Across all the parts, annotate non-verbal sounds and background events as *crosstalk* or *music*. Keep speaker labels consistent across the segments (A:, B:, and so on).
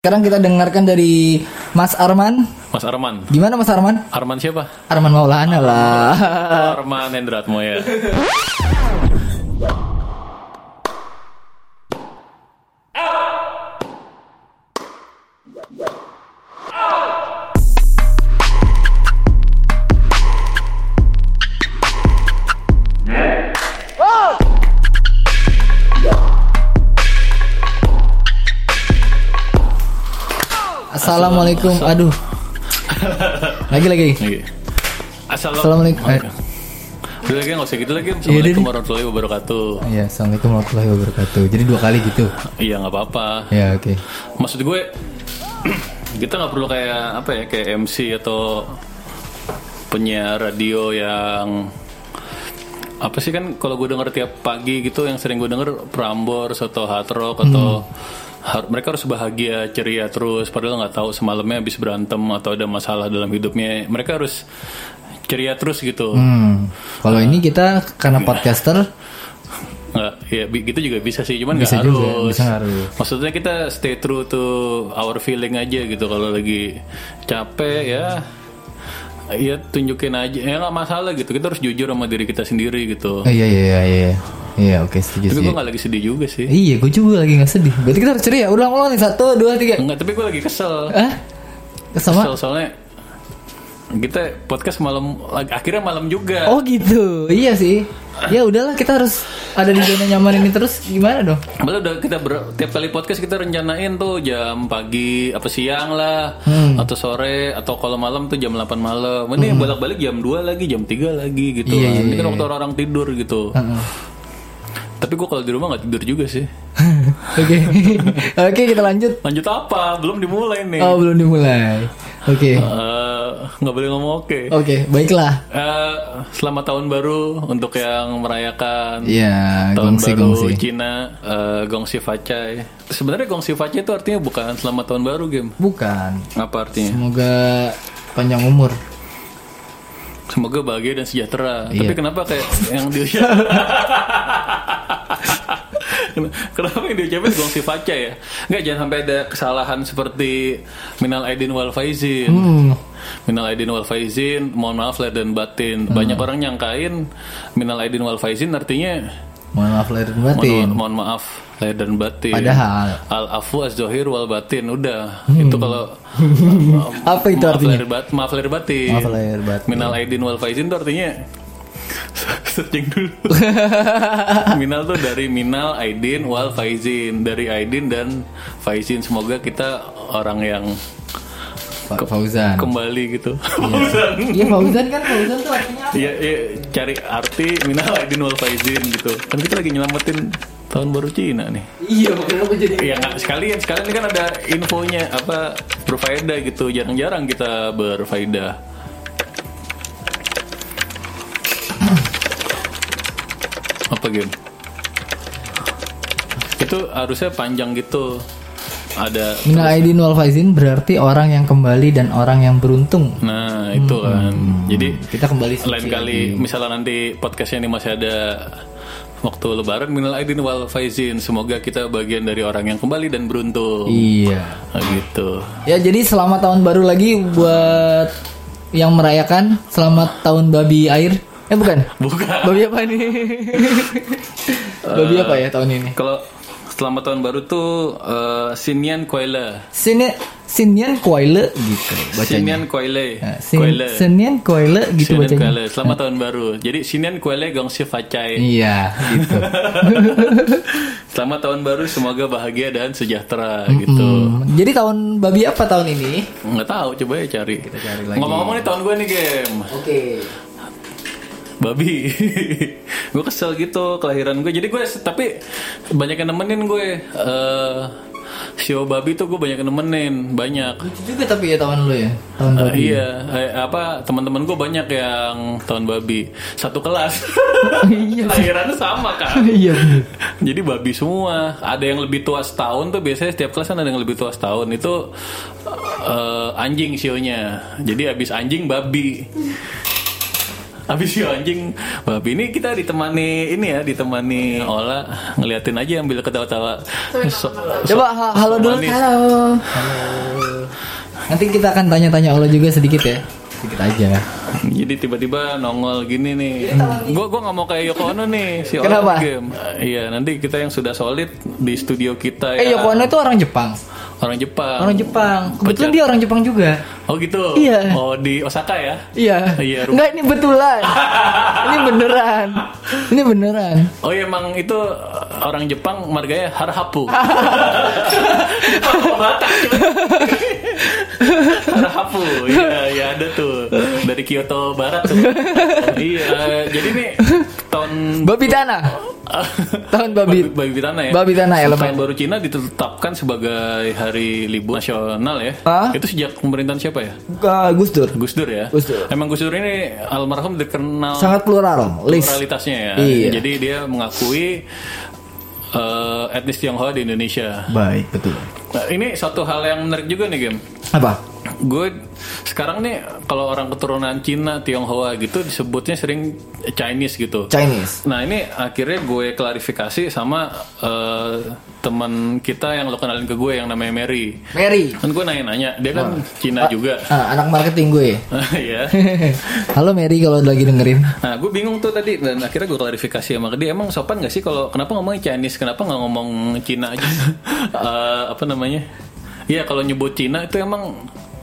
A: Sekarang kita dengarkan dari Mas Arman.
B: Mas Arman.
A: Gimana Mas Arman?
B: Arman siapa?
A: Arman Maulana lah.
B: Arman Endratmo ya.
A: Assalamualaikum. Aduh. Lagi lagi.
B: Oke.
A: Assalamualaikum. Eh,
B: Oke. Udah lagi nggak usah gitu lagi. Assalamualaikum warahmatullahi wabarakatuh.
A: Iya, Assalamualaikum warahmatullahi wabarakatuh. Jadi dua kali gitu.
B: Iya nggak apa-apa.
A: Ya oke.
B: Maksud gue kita nggak perlu kayak apa ya kayak MC atau penyiar radio yang apa sih kan kalau gue denger tiap pagi gitu yang sering gue denger Prambors atau Hard Rock atau
A: Hmm.
B: har- mereka harus bahagia ceria terus padahal nggak tahu semalamnya habis berantem atau ada masalah dalam hidupnya mereka harus ceria terus gitu
A: Hmm. Kalau ini kita karena podcaster
B: Nggak, ya bi- gitu juga bisa sih, cuman nggak
A: Bisa
B: harus.
A: juga, bisa nggak harus.
B: Maksudnya kita stay true to our feeling aja gitu. Kalau lagi capek ya, ya tunjukin aja. Ya nggak masalah gitu. Kita harus jujur sama diri kita sendiri
A: Oh,
B: gitu.
A: iya iya iya iya. Iya, oke setuju
B: Tapi
A: sih.
B: gue nggak lagi sedih juga sih.
A: Iya, gue juga lagi nggak sedih. Berarti kita harus ceria. Ulang ulang nih satu, dua, tiga.
B: Enggak, tapi gue lagi kesel.
A: Hah? Sama?
B: Kesel soalnya kita podcast malam lag- akhirnya malam juga.
A: Oh gitu. Iya sih. Ya udahlah kita harus ada di zona nyaman ini terus gimana dong?
B: Malah udah kita ber- tiap kali podcast kita rencanain tuh jam pagi apa siang lah
A: Hmm.
B: atau sore atau kalau malam tuh jam 8 malam. Ini bolak-balik jam 2 lagi, jam 3 lagi gitu.
A: Iya,
B: kan.
A: iya,
B: Ini kan
A: iya. Ah.
B: waktu orang-orang tidur gitu.
A: Heeh. *laughs*
B: Tapi gua kalau di rumah nggak tidur juga sih.
A: Oke. *laughs* Oke, kita lanjut.
B: Lanjut apa? Belum dimulai nih.
A: Oh, belum dimulai. Oke.
B: Eh, nggak boleh ngomong oke.
A: Oke, baiklah.
B: Eh, selamat tahun baru untuk yang merayakan
A: Iya,
B: tahun
A: gongsi
B: baru
A: gongsi.
B: Cina, eh, Gongsi Facai. Sebenarnya Gongsi Facai itu artinya bukan selamat tahun baru, game.
A: Bukan.
B: Apa artinya?
A: Semoga panjang umur.
B: Semoga bahagia dan sejahtera.
A: Iya.
B: Tapi kenapa kayak yang
A: *laughs*
B: dia Ken- Kenapa yang diucapin gong si Faca ya? Enggak jangan sampai ada kesalahan seperti Minal Aidin wal Faizin.
A: Hmm.
B: Minal Aidin wal Faizin, mohon maaf lahir dan batin.
A: Hmm.
B: Banyak orang nyangkain Minal Aidin wal Faizin artinya
A: Mohon maaf lahir dan
B: mohon,
A: batin.
B: mohon maaf lahir dan batin.
A: Padahal Hmm.
B: Al afu az zohir wal batin udah. Itu kalau
A: *laughs* apa itu
B: maaf
A: artinya?
B: lahir bat- maaf lahir batin.
A: Maaf lahir batin.
B: Minal Aidin wal Faizin itu artinya *laughs* searching dulu. minal tuh dari Minal Aidin wal Faizin, dari Aidin dan Faizin. Semoga kita orang yang
A: Pak Fauzan.
B: kembali gitu. Bagusan.
A: Iya, Fauzan kan Fauzan tuh artinya apa?
B: Iya, iya, cari arti Minal Aidin wal Faizin gitu. Kan kita lagi nyelamatin tahun baru Cina nih.
A: Iya, makanya aku jadi
B: Iya nggak sekalian sekalian ini kan ada infonya apa berfaedah gitu jarang-jarang kita berfaedah. Apa game? Itu harusnya panjang gitu ada.
A: Minal Aidin wal Faizin berarti orang yang kembali dan orang yang beruntung.
B: Nah itu kan. Jadi
A: Kita kembali suci
B: lain kali misalnya nanti podcastnya ini masih ada waktu Lebaran minal aidin wal faizin semoga kita bagian dari orang yang kembali dan beruntung.
A: lagi. Iya.
B: Nah, gitu.
A: Ya, jadi selamat tahun baru lagi buat yang merayakan selamat tahun babi air. Eh bukan.
B: *laughs* Bukan.
A: Babi apa
B: *laughs*
A: nih? Babi apa ya tahun ini?
B: Kalau selamat tahun baru tuh eh, Sinian Koile.
A: Sini Sinian Koile gitu bacanya.
B: Sinian Koile.
A: Nah, Sin-
B: Koile.
A: Sinian Koile gitu
B: Sinian
A: bacanya.
B: Koile. Selamat tahun baru. Jadi Sinian Koile Gongsi Facai.
A: Iya,
B: *laughs*
A: gitu.
B: Selamat tahun baru, semoga bahagia dan sejahtera gitu.
A: Hmm, Jadi tahun babi apa tahun ini?
B: Nggak tahu, coba ya cari.
A: cari lagi.
B: Ngomong-ngomong nih tahun gue nih game.
A: Oke.
B: Babi. *laughs* gue kesel gitu kelahiran gue. Jadi gue tapi banyak yang nemenin gue. Eh Sio babi tuh gue banyak yang nemenin, banyak.
A: Lucu juga tapi ya tahun lu ya. Tahun
B: Eh,
A: babi.
B: iya, eh, apa teman-teman gue banyak yang tahun babi satu kelas,
A: *laughs* Iya.
B: lahirannya sama kan.
A: *laughs* Iya. bener.
B: Jadi babi semua. Ada yang lebih tua setahun tuh biasanya setiap kelas kan ada yang lebih tua setahun itu eh, anjing sionya. Jadi abis anjing babi. Habis si anjing babi ini kita ditemani ini ya ditemani Ola ngeliatin aja ambil ketawa-tawa. So-
A: Coba ha- halo dulu.
B: manis.
A: Halo. Nanti kita akan tanya-tanya Allah juga sedikit ya. Sedikit aja.
B: *clears throat* Jadi tiba-tiba nongol gini nih. Gue gua nggak mau kayak Yoko Ono nih si Ola
A: Iya, Kenapa?
B: game. Iya nanti kita yang sudah solid di studio kita
A: Eh
B: ya.
A: Yoko Ono itu orang Jepang.
B: Orang Jepang.
A: Orang Jepang. Kebetulan dia orang Jepang juga.
B: Oh gitu.
A: Iya.
B: Oh di Osaka ya.
A: Iya.
B: Iya, Ru.
A: Enggak ini betulan. ini beneran. Ini beneran.
B: Oh iya, emang itu eh, orang Jepang marganya
A: *laughs*
B: Harhapu. Harhapu, iya ya ada tuh dari Kyoto Barat
A: *laughs*
B: tuh. iya, jadi nih tahun
A: Babi tanah.
B: *laughs*
A: Tahun babi.
B: babi, babi tanah ya.
A: Babi tanah, elemen.
B: Tahun baru Cina ditetapkan sebagai hari libur nasional ya.
A: Hah?
B: Itu sejak pemerintahan siapa ya?
A: Eh, Gus Dur.
B: Gus Dur ya.
A: Gus Dur.
B: Emang Gus Dur ini almarhum dikenal
A: Sangat plural. List.
B: pluralitasnya ya.
A: Iya.
B: Jadi dia mengakui eh, etnis Tionghoa di Indonesia.
A: Baik, betul.
B: Nah, ini satu hal yang menarik juga nih, Game.
A: Apa?
B: Gue sekarang nih kalau orang keturunan Cina, Tionghoa gitu disebutnya sering Chinese gitu.
A: Chinese.
B: Nah ini akhirnya gue klarifikasi sama eh, teman kita yang lo kenalin ke gue yang namanya Mary.
A: Mary.
B: Kan gue nanya-nanya, dia kan Cina juga. *laughs*
A: Ah, anak marketing gue. *laughs*
B: ya.
A: Halo Mary kalau lagi dengerin.
B: Nah, gue bingung tuh tadi dan akhirnya gue klarifikasi sama dia emang sopan gak sih kalau kenapa ngomongnya Chinese, kenapa nggak ngomong Cina aja? Eh, apa namanya? Iya, kalau nyebut Cina itu emang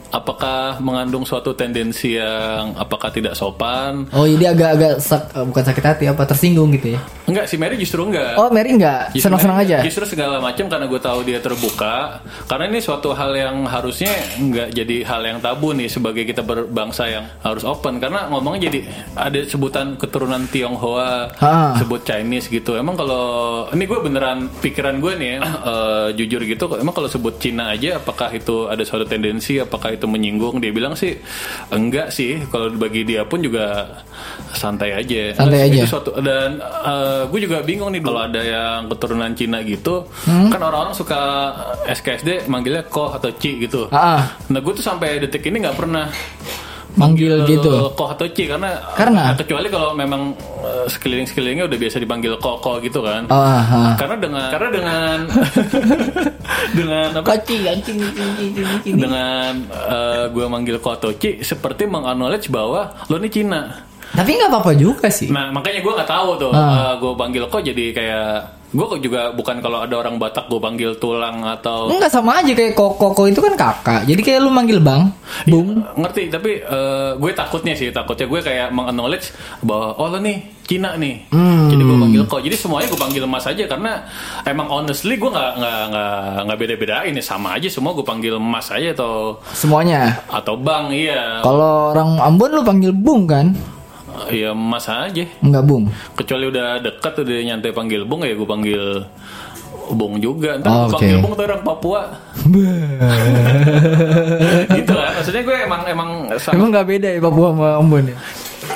B: apakah mengandung suatu tendensi yang apakah tidak sopan?
A: Oh, jadi agak-agak sak- eh, bukan sakit hati apa tersinggung gitu ya.
B: Enggak, si Mary justru enggak.
A: Oh, Mary enggak
B: Justru
A: senang-senang
B: Mary-
A: aja.
B: Iya, Justru segala macam karena gue tahu dia terbuka. Karena ini suatu hal yang harusnya nggak jadi hal yang tabu nih sebagai kita berbangsa yang harus open. Karena ngomongnya jadi ada sebutan keturunan Tionghoa,
A: Ha.
B: sebut Chinese gitu. Emang kalau ini gue beneran pikiran gue nih ya, *coughs* eh, jujur gitu. Emang kalau sebut Cina aja, apakah itu ada suatu tendensi? Apakah itu menyinggung? Dia bilang sih enggak sih. Kalau bagi dia pun juga santai aja.
A: Santai
B: Itu
A: aja.
B: suatu dan eh, gue juga bingung nih kalau ada yang keturunan Cina gitu kan orang-orang suka SKSD manggilnya koh atau ci gitu
A: Ah, ah.
B: nah gue tuh sampai detik ini nggak pernah
A: manggil gitu.
B: koh atau ci karena
A: Karena?
B: kecuali kalau memang eh, sekeliling-sekelilingnya udah biasa dipanggil koh koh gitu kan
A: Ah, ah.
B: karena dengan karena dengan *laughs* dengan apa
A: Koci, anjing, anjing, anjing, anjing.
B: dengan gue manggil koh atau ci seperti mengacknowledge bahwa lo ini Cina
A: Tapi nggak apa-apa juga sih.
B: Nah makanya gue nggak tahu tuh.
A: Ah.
B: gue panggil kok jadi kayak gue kok juga bukan kalau ada orang Batak gue panggil tulang atau
A: Enggak sama aja kayak koko koko itu kan kakak. Jadi kayak lu manggil bang, bung.
B: ngerti tapi eh, gue takutnya sih takutnya gue kayak meng-acknowledge bahwa oh lo nih Cina nih jadi gue panggil kok jadi semuanya gue panggil mas aja karena emang honestly gue nggak nggak nggak nggak beda-bedain ya sama aja semua gue panggil mas aja atau
A: Semuanya.
B: atau bang iya
A: Kalau orang Ambon lu panggil bung kan?
B: iya mas aja
A: Enggak bung.
B: kecuali udah dekat udah nyantai panggil bung ya gue panggil bung juga ntar
A: Oh, oke.
B: gue panggil bung tuh orang Papua *laughs* gitu lah maksudnya gue emang emang sama,
A: Emang nggak beda ya Papua sama Ambon ya?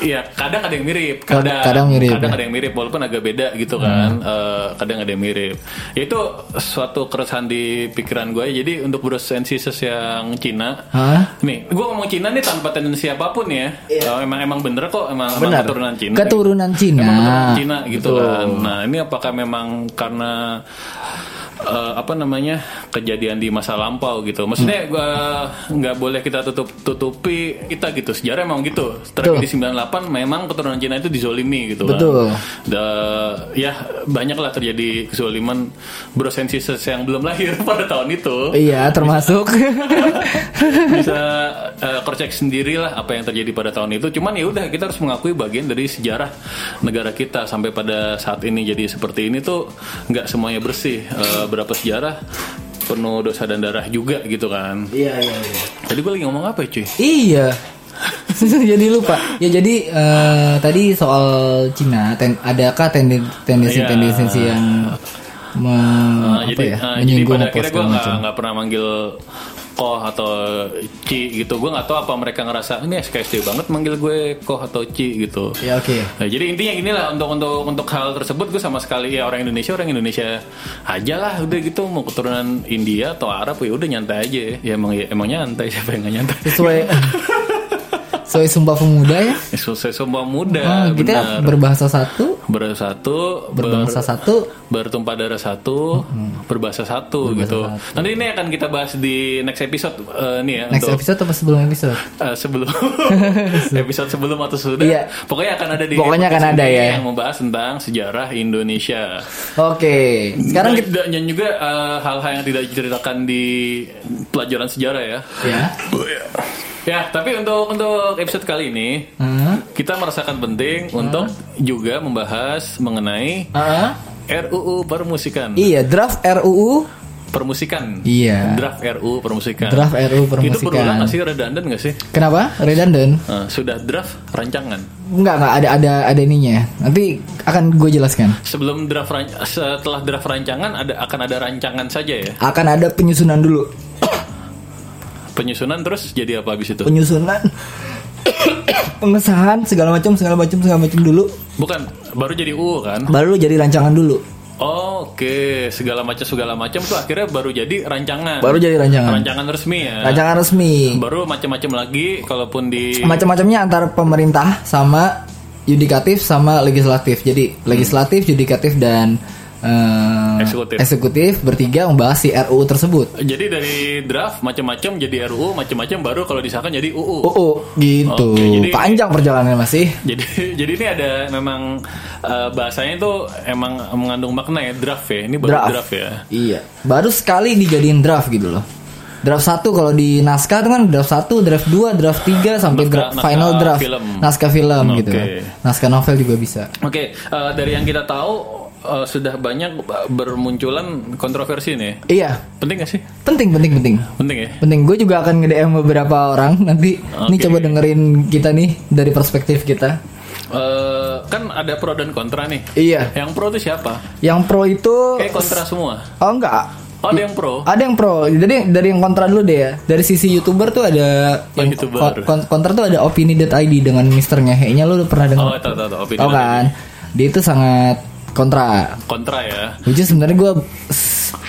B: ya kadang ada yang mirip
A: Kadang-
B: kadang
A: kadang mirip, ya.
B: kadang
A: Hmm.
B: ada yang mirip walaupun agak beda gitu kan Eh, kadang ada yang mirip Ya itu suatu keresahan di pikiran gue jadi untuk bro sensisus yang Cina
A: Hah?
B: nih gue ngomong Cina nih tanpa tendensi apapun ya Eh, emang emang bener kok emang, emang
A: Benar.
B: keturunan Cina
A: Keturunan Cina.
B: Emang keturunan Cina gitu kan. Nah, ini apakah memang karena eh, apa namanya kejadian di masa lampau
A: Hmm.
B: gitu? Maksudnya gua nggak boleh kita tutup tutupi kita gitu. Sejarah emang gitu. Tragedi 98 memang keturunan Cina itu dizolimi gitu
A: Betul.
B: kan. Da- ya banyaklah terjadi kezoliman brosensises yang belum lahir *laughs* pada tahun itu
A: Iya, termasuk.
B: bisa eh, cross-check sendirilah apa yang terjadi pada tahun itu. Cuman ya udah kita harus mengakui bagian dari sejarah negara kita sampai pada saat ini jadi seperti ini tuh nggak semuanya bersih. Eh, berapa sejarah penuh dosa dan darah juga gitu kan.
A: iya, iya, iya.
B: Tadi gue lagi ngomong apa ya, cuy?
A: Iya. *laughs* jadi lupa. Ya jadi eh, tadi soal Cina, ten- adakah tenden- tendensi-tendensi yang me-
B: Nah,
A: apa
B: Iya. jadi,
A: ya,
B: nah, jadi
A: menyinggung
B: pada
A: apa
B: akhirnya gue
A: segala
B: nggak
A: macam?
B: nggak pernah manggil koh atau ci gitu. Gue nggak tahu apa mereka ngerasa ini SKSD banget manggil gue koh atau ci gitu.
A: Ya oke.
B: Nah, jadi intinya gini lah untuk untuk untuk hal tersebut gue sama sekali ya orang Indonesia orang Indonesia aja lah udah gitu mau keturunan India *laughs* atau Arab ya udah nyantai aja ya emang ya, emang nyantai siapa yang gak nyantai
A: *laughs* Sesuai Soal Sumpah Pemuda ya.
B: Selesai semua muda,
A: Oh, kita
B: Iya, benar.
A: berbahasa satu,
B: Bersatu, ber-
A: berbahasa satu.
B: bertumpah darah satu,
A: Mm-hmm.
B: berbahasa satu gitu. Nanti ini akan kita bahas di next episode eh, nih ya
A: Next
B: untuk
A: episode apa sebelum episode?
B: eh, sebelum
A: *laughs*
B: episode sebelum atau sudah.
A: Iya.
B: Pokoknya akan ada di
A: Pokoknya akan
B: episode
A: ada
B: ini
A: ya.
B: yang membahas tentang sejarah Indonesia.
A: Oke, sekarang
B: Dan-
A: kita
B: dan, dan juga eh, hal-hal yang tidak diceritakan di pelajaran sejarah ya.
A: ya.
B: Ya, tapi untuk untuk episode kali ini
A: Heeh.
B: kita merasakan penting untuk juga membahas mengenai
A: Heeh.
B: RUU permusikan.
A: Iya, draft RUU,
B: permusikan.
A: Iya.
B: Draft RUU permusikan.
A: draft RUU
B: Itu berulang
A: permusikan.
B: nggak sih redundant nggak sih?
A: Kenapa? Redundant?
B: Eh, sudah draft rancangan.
A: Enggak, enggak ada ada ada ininya. Nanti akan gue jelaskan.
B: Sebelum draft ran- setelah draft rancangan ada akan ada rancangan saja ya.
A: Akan ada penyusunan dulu.
B: Penyusunan terus jadi apa habis itu?
A: Penyusunan pengesahan segala macam segala macam segala macam dulu
B: Bukan baru jadi UU kan?
A: baru jadi rancangan dulu.
B: Oh, Oke, segala macam segala macam tuh akhirnya baru jadi rancangan.
A: Baru jadi rancangan.
B: rancangan resmi ya.
A: Rancangan resmi.
B: Baru macam-macam lagi kalaupun di
A: macam-macamnya antara pemerintah sama yudikatif sama legislatif.
B: Hmm.
A: Jadi legislatif, yudikatif dan eh,
B: Eksekutif.
A: eksekutif bertiga membahas si RUU tersebut.
B: jadi dari draft macam-macam jadi RUU macam-macam baru kalau disahkan jadi UU.
A: Oh, gitu.
B: Oke, jadi-
A: Panjang perjalanannya masih.
B: Jadi *laughs* jadi ini ada memang eh, bahasanya itu emang mengandung makna ya draft ya. Ini baru draft,
A: Draft.
B: ya.
A: Iya. Baru sekali dijadiin draft gitu loh. Draft 1 kalau di naskah itu kan draft 1, draft 2, draft 3 sampai
B: Naskah-
A: draft
B: naskah
A: final draft.
B: film. Hmm,
A: Naskah film
B: Oke.
A: gitu. Naskah novel juga bisa.
B: Oke, eh, dari yang kita tahu eh, sudah banyak bermunculan kontroversi nih.
A: Iya.
B: Penting gak sih?
A: Penting penting penting.
B: Penting ya.
A: Penting gue juga akan nge-DM beberapa orang nanti. Nih
B: Oke.
A: coba dengerin kita nih dari perspektif kita.
B: Eh, kan ada pro dan kontra nih.
A: Iya.
B: Yang pro itu siapa?
A: Yang pro itu
B: Kayak kontra semua.
A: Oh enggak.
B: Oh, ada yang pro.
A: Ada yang pro. Jadi dari yang kontra dulu deh ya. Dari sisi YouTuber tuh ada
B: Oh,
A: yang
B: YouTuber.
A: kon- kontra tuh ada opini.id dengan Mister Ngehe-nya lu udah pernah dengar?
B: Oh, tahu tahu tahu. Opini
A: Tau
B: dari-
A: kan? Dia itu sangat kontra.
B: Kontra ya. *laughs*
A: Which is sebenarnya gue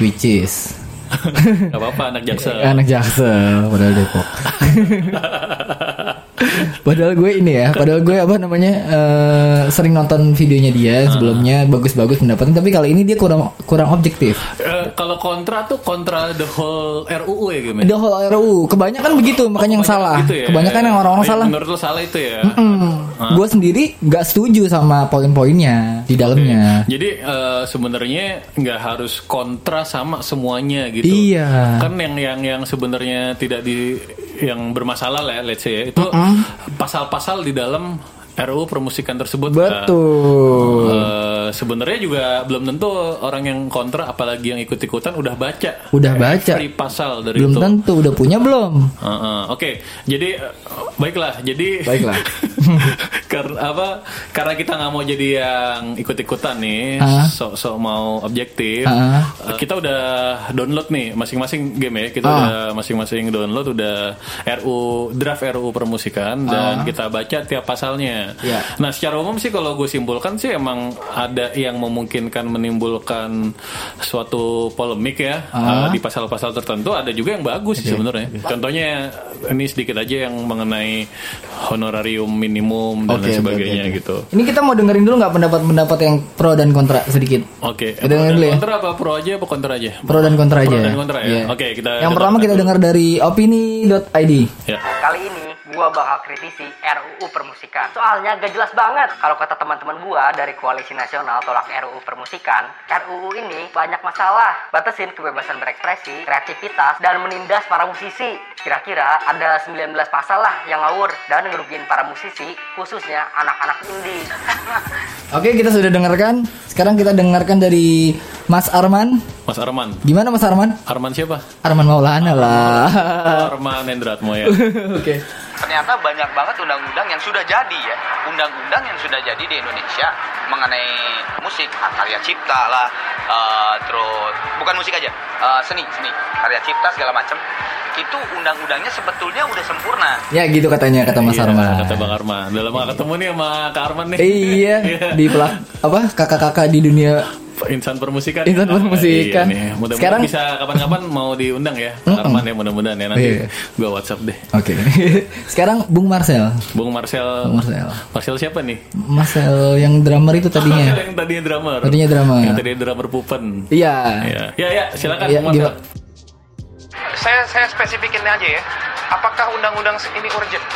A: which is
B: Gak apa-apa anak jaksa.
A: anak jaksel padahal Depok. padahal gue ini ya, padahal gue apa namanya eh, sering nonton videonya dia
B: Ah.
A: sebelumnya bagus-bagus pendapatnya tapi kali ini dia kurang kurang objektif.
B: *laughs* Eh, kalau kontra tuh kontra the whole RUU ya gimana?
A: The whole RUU kebanyakan begitu makanya yang salah.
B: Gitu ya?
A: Kebanyakan yang orang-orang
B: Yang
A: salah.
B: Menurut lo salah itu ya.
A: Gue sendiri nggak setuju sama poin-poinnya di dalamnya.
B: Jadi eh, sebenarnya nggak harus kontra sama semuanya gitu.
A: Iya.
B: Kan yang yang yang sebenarnya tidak di yang bermasalah lah ya, let's say ya, itu pasal-pasal di dalam RUU permusikan tersebut. kan.
A: Betul.
B: Eh, sebenarnya juga belum tentu orang yang kontra apalagi yang ikut-ikutan udah baca.
A: Udah baca.
B: Free pasal dari
A: Belum
B: itu.
A: tentu udah punya belum.
B: Heeh, Oke, jadi eh, baiklah. Jadi *laughs*
A: Baiklah.
B: karena apa? Karena kita nggak mau jadi yang ikut-ikutan nih,
A: Ah.
B: sok-sok mau objektif.
A: Ah.
B: Eh, Kita udah download nih masing-masing game ya. Kita
A: Ah.
B: udah masing-masing download udah RU draft RU permusikan
A: Ah.
B: dan kita baca tiap pasalnya.
A: Iya.
B: Nah, secara umum sih kalau gue simpulkan sih emang ada yang memungkinkan menimbulkan suatu polemik ya
A: Ah.
B: eh, di pasal-pasal tertentu. Ada juga yang bagus sih sebenarnya. Contohnya ini sedikit aja yang mengenai honorarium minimum dan lain
A: Oke, oke,
B: sebagainya
A: oke, oke.
B: gitu.
A: Ini kita mau dengerin dulu nggak pendapat-pendapat yang pro dan kontra sedikit.
B: Oke,
A: Kita dengerin
B: pro dan
A: dulu ya.
B: kontra apa pro aja apa kontra aja?
A: Pro dan kontra
B: Pro
A: aja.
B: dan kontra ya?
A: Iya.
B: Oke, kita-
A: Yang
B: kita
A: pertama kita dengar dari opini.id.
B: Ya.
C: Kali ini gua bakal kritisi RUU permusikan. Soalnya gak jelas banget. Kalau kata teman-teman gua dari Koalisi Nasional Tolak RUU Permusikan, RUU ini banyak masalah. Batasin kebebasan berekspresi, kreativitas, dan menindas para musisi. Kira-kira ada 19 pasal lah yang ngawur dan ngerugiin para musisi, khususnya anak-anak indie. *laughs*
A: Oke, kita sudah dengarkan. Sekarang kita dengarkan dari Mas Arman.
B: Mas Arman.
A: Gimana Mas Arman?
B: Arman siapa?
A: Arman Maulana lah. *laughs*
B: Arman Hendratmo ya.
A: Oke.
D: ternyata banyak banget undang-undang yang sudah jadi ya undang-undang yang sudah jadi di Indonesia mengenai musik Ah, karya cipta lah eh, terus bukan musik aja eh, seni seni karya cipta segala macam itu undang-undangnya sebetulnya udah sempurna
A: Ya gitu katanya *laughs* kata Mas
B: Iya,
A: Arman.
B: Kata Bang Arman. *laughs* Udah lama ketemu nih sama Kak Arman nih.
A: Iya, di pelak apa kakak-kakak di dunia
B: Insan permusikan.
A: Insan permusikan.
B: Iya nih. Mudah-mudahan
A: Sekarang-
B: bisa kapan-kapan mau diundang ya. Arman ya mudah-mudahan ya nanti
A: Iya.
B: gua WhatsApp deh.
A: Oke. *laughs* Sekarang Bung Marcel.
B: Bung Marcel.
A: Bung Marcel.
B: Marcel siapa nih?
A: Marcel yang drummer itu
B: Marcel *laughs*
A: tadinya.
B: yang tadinya drummer.
A: Tadinya drummer.
B: Yang tadinya drummer Pupen.
A: Iya.
B: Iya. Ya ya, silakan
A: Iya,
B: Bung Marcel.
A: gimana?
E: saya saya spesifikin aja ya. Apakah undang-undang ini urgent?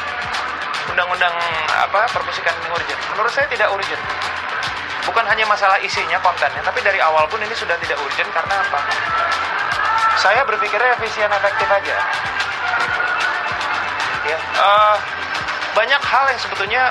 E: Undang-undang apa permusikan ini urgent? Menurut saya tidak urgent. Bukan hanya masalah isinya, kontennya, tapi dari awal pun ini sudah tidak urgent karena apa? Saya berpikirnya efisien efektif aja. Ya, eh, banyak hal yang sebetulnya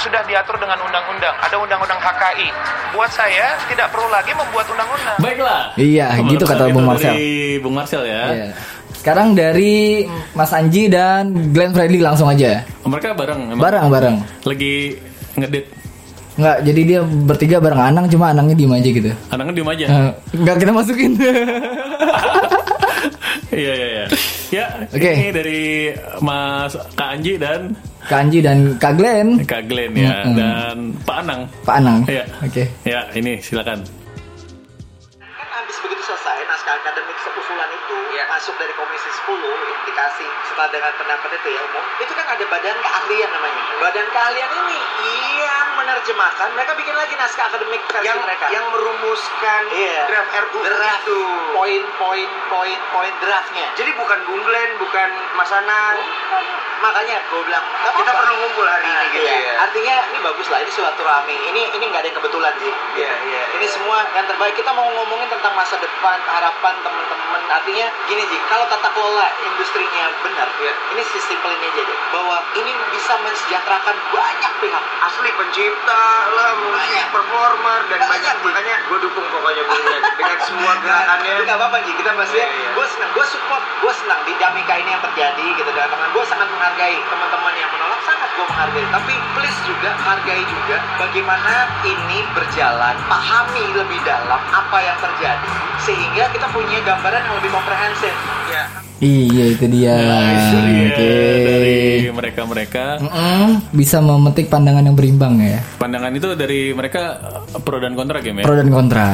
E: sudah diatur dengan undang-undang. Ada undang-undang HKI. Buat saya tidak perlu lagi membuat undang-undang.
B: Baiklah.
A: Iya, gitu kata
B: Itu
A: Bung
B: dari
A: Marcel.
B: Bung Marcel ya.
A: Iya. Sekarang dari Mas Anji dan Glenn Fredly langsung aja.
B: Mereka bareng emang.
A: Bareng-bareng.
B: Lagi ngedit.
A: Enggak, jadi dia bertiga bareng Anang cuma Anangnya diem aja gitu.
B: Anaknya diem
A: *laughs*
B: aja.
A: Eh, Enggak kita
B: *laughs*
A: masukin.
B: Iya iya iya. Ya,
A: Oke.
B: ini dari Mas Kak Anji dan
A: Kak Anji dan Kak Glenn,
B: Kak Glenn ya
A: Mm-mm.
B: dan Pak Anang.
A: Pak Anang.
B: Iya.
A: Oke.
B: Ya, ini silakan.
F: kan habis begitu selesai naskah akademik seusulan itu
D: Iya.
F: masuk dari komisi 10 implikasi setelah dengan pendapat itu ya umum itu kan ada badan keahlian namanya badan keahlian ini yang menerjemahkan mereka bikin lagi naskah akademik versi
G: yang
F: mereka
G: yang merumuskan
F: Iya.
G: draft RUU
F: draft
G: itu.
F: poin poin poin poin draftnya
G: Jadi bukan Bung Glenn, bukan Mas Anang.
F: makanya gue bilang
G: Kita
F: "Gak apa-apa."
G: perlu ngumpul hari ini
F: Nah,
G: gitu
F: iya.
G: ya.
F: artinya ini bagus lah ini silaturahmi ini ini nggak ada yang kebetulan sih
G: Iya, iya.
F: ini semua yang terbaik kita mau ngomongin tentang masa depan harapan teman-teman artinya gini sih kalau tata kelola industrinya benar ya,
G: Iya.
F: ini sesimpel ini aja deh bahwa ini bisa mensejahterakan banyak pihak
G: asli pencipta lah, musik, performer dan banyak. Makanya gue dukung pokoknya Bung Glenn dengan semua gerakannya.
F: Nah, Itu nggak apa-apa Ji, kita maksudnya
G: Iya, iya.
F: gue senang, gue support, gue senang dinamika ini yang terjadi gitu dan teman gue sangat menghargai teman-teman yang menolak sangat gue menghargai tapi please juga hargai juga bagaimana ini berjalan pahami lebih dalam apa yang terjadi sehingga kita punya gambaran yang lebih komprehensif
G: Ya.
A: Iya itu dia.
B: Nah, itu dia
A: Ah, Oke.
B: dari mereka-mereka.
A: Mm-mm, bisa memetik pandangan yang berimbang ya.
B: Pandangan itu dari mereka eh, pro dan kontra game ya.
A: Pro dan kontra.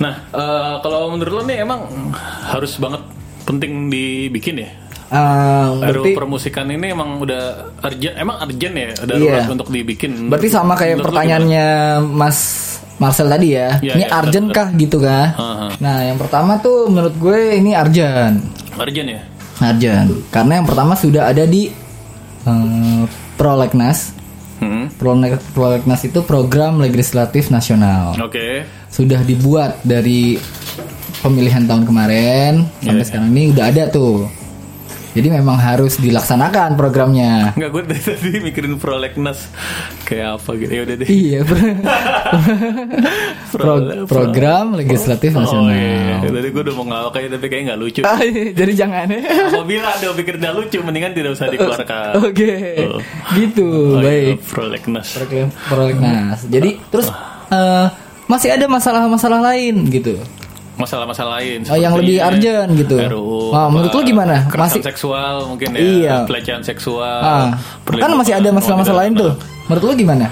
B: Nah, eh, kalau menurut lo nih emang harus banget penting dibikin ya.
A: Eh,
B: Baru
A: berarti
B: permusikan ini emang udah urgent, emang urgent ya darurat
A: Iya.
B: untuk dibikin.
A: berarti sama kayak
B: Menurut lo
A: pertanyaannya Mas Marcel tadi ya.
B: Iya,
A: ini
B: iya,
A: urgent
B: betul.
A: kah gitu kah?
B: Aha.
A: Nah, yang pertama tuh menurut gue ini urgent.
B: gimana? urgent ya.
A: Urgent. Karena yang pertama sudah ada di eh, Prolegnas.
B: Hmm.
A: Prole- Prolegnas itu program legislatif nasional.
B: Oke.
A: sudah dibuat dari pemilihan tahun kemarin sampai
B: iya.
A: sekarang ini udah ada tuh. Jadi memang harus dilaksanakan programnya.
B: Enggak gue dari tadi mikirin prolegnas kayak apa gitu. Ya udah deh.
A: iya, *laughs* bro. Pro-
B: Pro-
A: program legislatif
B: Oh
A: nasional.
B: iya, iya. Tadi gue udah mau ngelawak aja tapi kayaknya nggak lucu.
A: Ah, iya, Jadi jangan.
B: Apabila ada yang pikir nggak lucu, mendingan tidak usah dikeluarkan.
A: Oke.
B: Oh.
A: Gitu,
B: Oh, iya,
A: baik.
B: prolegnas.
A: Program- Prolegnas. Jadi terus
B: Ah.
A: eh, masih ada masalah-masalah lain gitu.
B: Masalah-masalah lain.
A: Oh, yang
B: seperti
A: lebih urgent gitu.
B: RUU,
A: Wah,
B: apa,
A: menurut lu gimana?
B: Kekerasan
A: Masih-
B: seksual mungkin ya.
A: Iya.
B: Pelecehan
A: Ah,
B: seksual.
A: kan
B: Eh, perlindungan
A: masih ada masalah-masalah lain
B: wanita
A: tuh.
B: dan
A: Menurut lu gimana?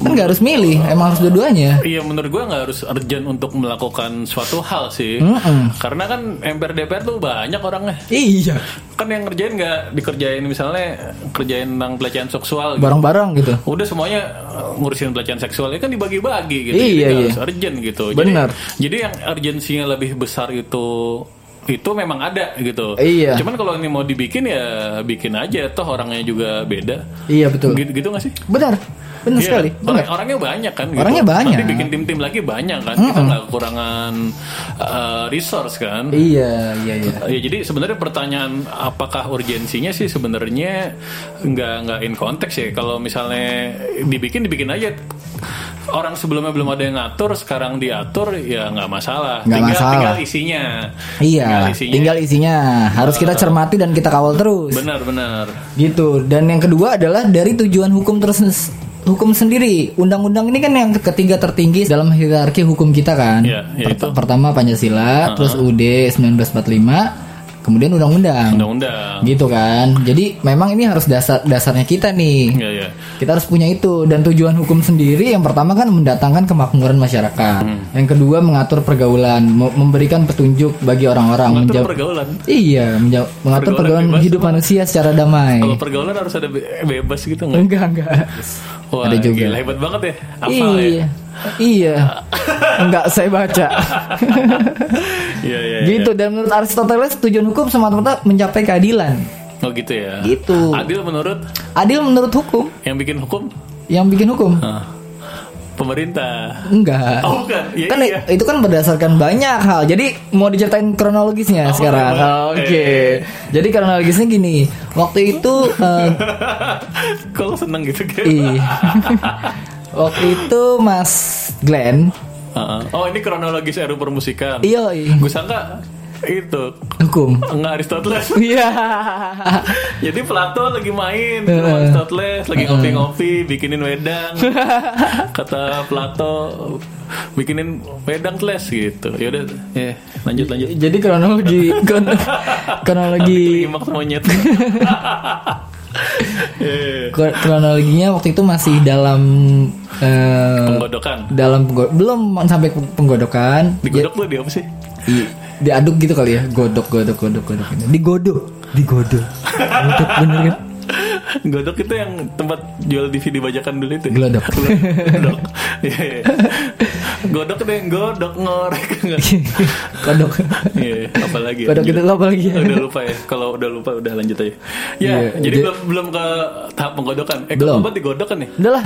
A: Kan nggak harus milih, emang harus dua-duanya.
B: Iya menurut gue nggak harus urgent untuk melakukan suatu hal sih,
A: Mm-mm.
B: karena kan MPR DPR tuh banyak orangnya.
A: Iya,
B: Kan yang ngerjain nggak dikerjain misalnya kerjain tentang pelecehan seksual. Gitu.
A: bareng-bareng gitu.
B: Udah semuanya uh, ngurusin pelecehan seksual ya kan dibagi-bagi
A: Iya,
B: gitu. Jadi nggak
A: iya.
B: harus urgent gitu.
A: Benar.
B: Jadi, jadi yang urgensinya lebih besar itu itu memang ada gitu.
A: Iya.
B: Cuman kalau ini mau dibikin ya bikin aja toh orangnya juga beda.
A: Iya betul.
B: Gitu, gitu gak sih?
A: Benar, benar
B: Iya,
A: sekali.
B: orang-
A: Benar.
B: orangnya banyak kan.
A: Orangnya banyak.
B: Nanti bikin tim-tim lagi banyak kan. Kita nggak kekurangan eh, resource kan.
A: Iya, iya, iya.
B: Ya, jadi sebenarnya pertanyaan apakah urgensinya sih sebenarnya nggak nggak in konteks ya. Kalau misalnya dibikin dibikin aja. Orang sebelumnya belum ada yang ngatur, sekarang diatur ya nggak masalah.
A: Nggak
B: tinggal,
A: masalah.
B: tinggal isinya.
A: Iya,
B: Tinggal isinya. Ah.
A: tinggal isinya harus kita cermati dan kita kawal terus.
B: Benar-benar.
A: Gitu. Dan yang kedua adalah dari tujuan hukum terus hukum sendiri. Undang-undang ini kan yang ketiga tertinggi dalam hierarki hukum kita kan.
B: Iya, iya
A: Pert-
B: itu.
A: Pertama Pancasila, terus UD 1945, kemudian undang-undang.
B: undang-undang.
A: Gitu kan. Jadi memang ini harus dasar dasarnya kita nih.
B: Iya, iya.
A: Kita harus punya itu dan tujuan hukum sendiri yang pertama kan mendatangkan kemakmuran masyarakat.
B: Hmm.
A: Yang kedua mengatur pergaulan, me- memberikan petunjuk bagi orang-orang
B: Mengatur
A: menjawab-
B: pergaulan.
A: Iya, menjawab, mengatur
B: Pergaulan
A: pergaulan
B: bebas
A: hidup
B: apa?
A: manusia secara damai.
B: Kalau pergaulan harus ada be- bebas gitu
A: *laughs*
B: nggak?
A: Enggak, enggak.
B: Wah,
A: ada juga.
B: gila, hebat banget ya. Apa
A: iya.
B: ya? *laughs*
A: Iya. Enggak saya baca.
B: Iya, *laughs* iya. iya.
A: gitu dan menurut Aristoteles tujuan hukum semata-mata mencapai keadilan.
B: Oh gitu ya.
A: Gitu.
B: Adil menurut
A: Adil menurut hukum
B: yang bikin hukum
A: yang bikin hukum.
B: Hah. pemerintah. *laughs*
A: Enggak.
B: Oh, bukan. Iya,
A: kan
B: iya.
A: itu kan berdasarkan banyak hal. Jadi mau diceritain kronologisnya
B: Oh,
A: sekarang.
B: boleh, boleh. iya,
A: Oke. Jadi kronologisnya gini. Waktu itu eh,
B: Kalau seneng gitu kan.
A: ih. Waktu itu Mas Glenn,
B: *laughs* Heeh. Oh ini kronologis era permusikan.
A: iya
B: Gue sangka itu
A: hukum.
B: nggak Aristoteles.
A: *laughs* Iya.
B: Jadi Plato lagi main ke rumah Aristoteles, lagi ngopi-ngopi, bikinin
A: *laughs*
B: wedang. Kata Plato, bikinin wedang les gitu. Ya udah, ya lanjut lanjut.
A: Jadi kronologi kon- kronologi
B: Klimak
A: *laughs*
B: monyet. Iya, Eh,
A: Kro- kronologinya waktu itu masih dalam eh,
B: Penggodokan.
A: dalam penggo- belum sampai peng- penggodokan
B: Digodok lu di apa sih?
A: Iya. diaduk gitu kali ya godok godok godok godok digodok digodok godok bener kan
B: Godok itu yang tempat jual DVD bajakan dulu itu. *laughs*
A: Glodok.
B: Glodok. Iya, iya. Godok itu yang godok ngorek. *laughs*
A: godok
B: Iya, apalagi.
A: Godok itu apa lagi ya?
B: Udah lupa ya. Kalau udah lupa udah lanjut aja. Ya,
A: Iya,
B: jadi
A: jadi-
B: belum belum ke tahap penggodokan. Eh,
A: Belum.
B: keempat digodokan nih.
A: udahlah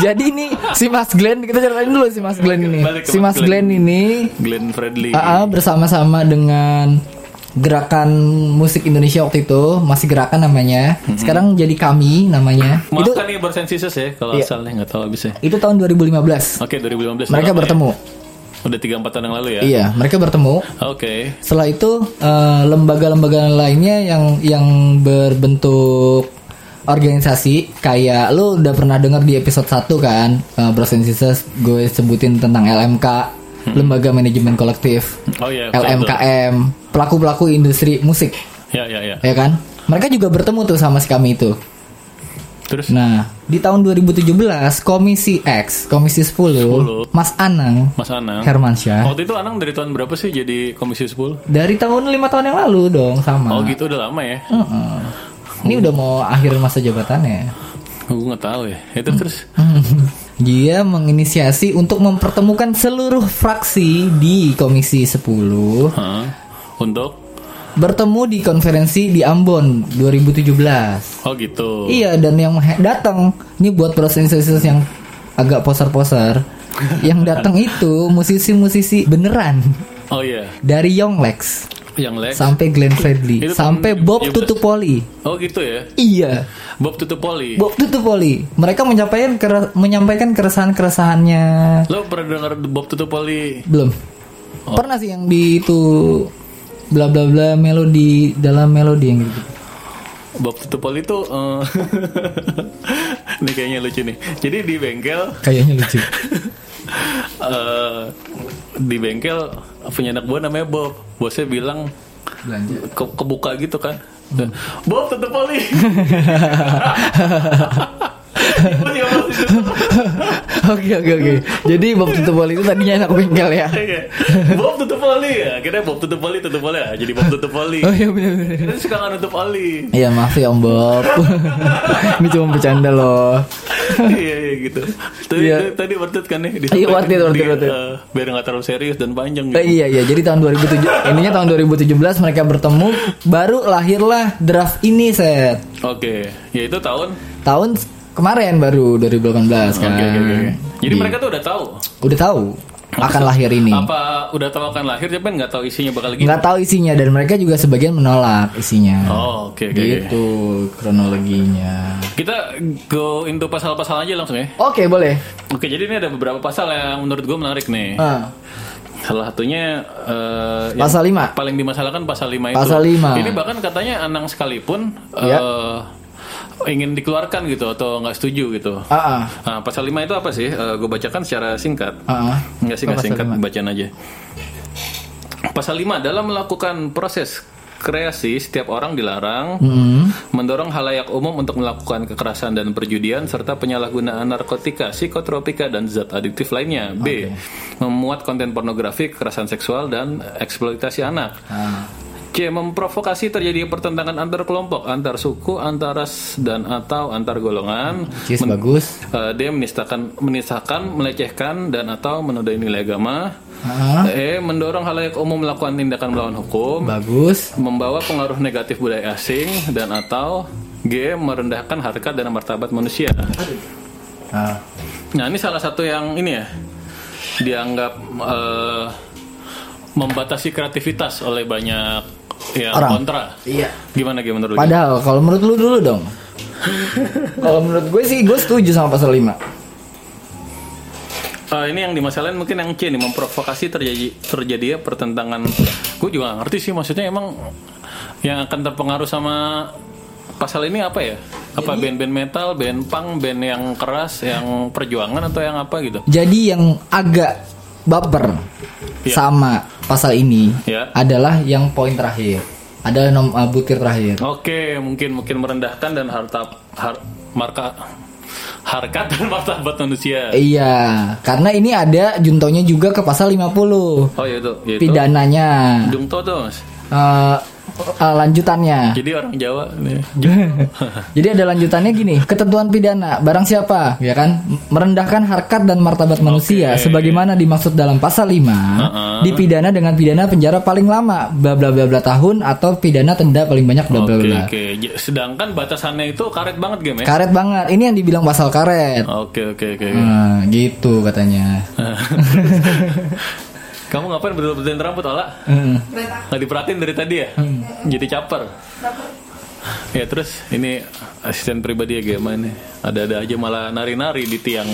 A: jadi ini si Mas Glenn kita ceritain dulu si Mas Glenn ini
B: Balik ke
A: si
B: Mas
A: Mas Glenn
B: Glenn.
A: ini
B: Glenn Fredly.
A: AA bersama-sama dengan gerakan musik Indonesia waktu itu masih gerakan namanya sekarang jadi kami namanya itu
B: Mm-hmm. Maafkan nih bersensisus ya kalau
A: Iya.
B: asalnya nggak tahu abisnya.
A: itu tahun 2015
B: Oke, 2015.
A: mereka
B: berapa ya?
A: bertemu.
B: Udah 3 4 tahun yang lalu Oh, ya.
A: Iya, mereka bertemu.
B: Oke.
A: Setelah itu eh, lembaga-lembaga lainnya yang yang berbentuk organisasi kayak lu udah pernah dengar di episode 1 kan, eh, Bros and Sisters gue sebutin tentang LMK, Lembaga Manajemen Kolektif,
B: Oh Hmm. iya. betul,
A: LMKM, pelaku-pelaku industri musik,
B: betul. Ya, ya, ya.
A: ya kan? Mereka juga bertemu tuh sama si kami itu.
B: Terus
A: Nah, di tahun 2017 Komisi X, Komisi 10,
B: 10.
A: Mas Anang
B: Mas Anang. Oh.
A: Hermansyah
B: Waktu itu Anang dari tahun berapa sih jadi komisi 10?
A: Dari tahun lima tahun yang lalu dong sama.
B: Oh gitu udah lama ya.
A: Heeh. Ini udah mau akhir masa jabatannya. *laughs*
B: Gue nggak tahu ya. Itu terus
A: Dia menginisiasi untuk mempertemukan seluruh fraksi di Komisi 10
B: Hah? untuk
A: bertemu di konferensi di Ambon 2017.
B: oh gitu.
A: Iya dan yang he- datang ini buat proses yang agak
B: *laughs*
A: poser-poser. yang datang itu musisi-musisi beneran
B: Oh iya.
A: dari Yonglex
B: Yang leg.
A: sampai Glenn Fredly
B: Itu
A: sampai
B: tahun
A: Bob
B: 17.
A: Tutupoli.
B: oh gitu ya.
A: Iya.
B: Bob Tutupoli.
A: Bob Tutupoli. Mereka menyampaikan kere- menyampaikan keresahan-keresahannya.
B: Lo pernah dengar Bob Tutupoli?
A: Belum. Pernah sih yang di itu bla bla bla melodi dalam melodi yang gitu.
B: Bob Tutupoli itu eh, *laughs* ini kayaknya lucu nih. Jadi di bengkel
A: Kayaknya gitu lucu.
B: eh, di bengkel punya anak buah namanya Bob. Bosnya bilang
A: Belanja.
B: ke- kebuka gitu kan. Bob Tutupoli. Iya, Bob Tutupoli.
A: *laughs* Oke oke oke. Jadi Bob Tutupoli itu tadinya anak bengkel ya.
B: Iya. Bob tutup oli ya. Akhirnya Bob tutup oli, tutup oli ya. Jadi Bob tutup oli.
A: Oh iya benar benar.
B: Kita suka nggak nutup oli.
A: *laughs* Iya maaf ya Om *laughs* Bob. Ini cuma bercanda loh.
B: Iya iya gitu. Tadi
A: Iya.
B: tadi- tadi worth it kan nih?
A: Iya, worth it, worth it,
B: Di-
A: worth it.
B: eh, biar nggak terlalu serius dan panjang gitu.
A: Eh, iya iya. Jadi tahun 2007 ininya tahun 2017 mereka bertemu baru lahirlah draft ini set.
B: Oke. Ya itu tahun.
A: tahun kemarin baru 2018
B: Oke
A: kan.
B: oke oke. oke. Jadi
A: Di-
B: mereka tuh udah tahu
A: udah tahu akan lahir ini.
B: apa udah tahu akan lahir tapi nggak tahu isinya bakal gitu. gini.
A: Iya. Nggak tahu isinya dan mereka juga sebagian menolak isinya.
B: Oh oke oke. oke.
A: gitu kronologinya.
B: Kita go into pasal-pasal aja langsung ya.
A: Oke, boleh.
B: Oke jadi ini ada beberapa pasal yang menurut gue menarik nih.
A: Ah,
B: Salah satunya eh, yang
A: Pasal lima.
B: Paling dimasalahkan pasal 5 itu.
A: Pasal lima.
B: Ini bahkan katanya Anang sekalipun
A: Ya.
B: eh, ingin dikeluarkan gitu atau nggak setuju gitu.
A: ah, ah,
B: Nah, pasal 5 itu apa sih? Eh, gue bacakan secara singkat.
A: ah, ah.
B: Enggak sih,
A: Apa
B: nggak
A: pasal
B: singkat,
A: lima?
B: bacaan aja. Pasal 5 dalam melakukan proses kreasi setiap orang dilarang
A: Mm-hmm.
B: mendorong halayak umum untuk melakukan kekerasan dan perjudian serta penyalahgunaan narkotika, psikotropika dan zat adiktif lainnya. B. Memuat konten pornografi, kekerasan seksual dan eksploitasi anak.
A: Ah,
B: C. Memprovokasi terjadi pertentangan antar kelompok, antar suku, antar ras dan atau antar golongan.
A: Cis,
B: Men-
A: bagus.
B: Eh, D. Menistakan, menistakan, melecehkan dan atau menodai nilai agama.
A: Ah.
B: E. Mendorong halayak umum melakukan tindakan melawan hukum.
A: Bagus.
B: Membawa pengaruh negatif budaya asing dan atau G. Merendahkan harkat dan martabat manusia.
A: Ah.
B: Nah ini salah satu yang ini ya dianggap eh, membatasi kreativitas oleh banyak yang
A: Orang.
B: kontra.
A: Iya.
B: Gimana gimana menurut lu?
A: Padahal kalau menurut lu dulu
B: *laughs*
A: dong. kalau menurut gue sih gue setuju sama pasal 5.
B: Eh, ini yang dimasalahin mungkin yang C nih memprovokasi terjadi terjadinya pertentangan. Gue juga gak ngerti sih maksudnya emang yang akan terpengaruh sama pasal ini apa ya? Apa band-band metal, band punk, band yang keras, yang perjuangan atau yang apa gitu?
A: Jadi yang agak baper
B: Iya.
A: sama pasal ini
B: Iya.
A: adalah yang poin terakhir. Adalah nom eh, butir terakhir.
B: Oke, mungkin mungkin merendahkan dan harta har- marka harkat dan *laughs* martabat manusia.
A: Iya, karena ini ada juntonya juga ke pasal 50.
B: Oh ya itu, ya itu.
A: Pidananya.
B: Jungto tuh, Mas.
A: Eh, eh, lanjutannya.
B: Jadi orang Jawa iya. nih. Jungto.
A: Jadi ada lanjutannya gini, ketentuan pidana barang siapa, ya kan, merendahkan harkat dan martabat manusia sebagaimana dimaksud dalam pasal 5 dipidana dengan pidana penjara paling lama bla bla bla bla tahun atau pidana tenda paling banyak bla bla
B: Oke,
A: bla.
B: oke. J- Sedangkan batasannya itu karet banget game ya.
A: Karet banget. Ini yang dibilang pasal karet.
B: Oke, oke, oke. oke.
A: Nah, gitu katanya.
B: *laughs* Kamu ngapain berdua-duaan rambut, Ola?
A: Heeh.
B: Nggak diperhatiin dari tadi ya?
A: Hmm.
B: Jadi caper. Ya terus ini asisten pribadi ya gimana nih? Ada-ada aja malah nari-nari di tiang.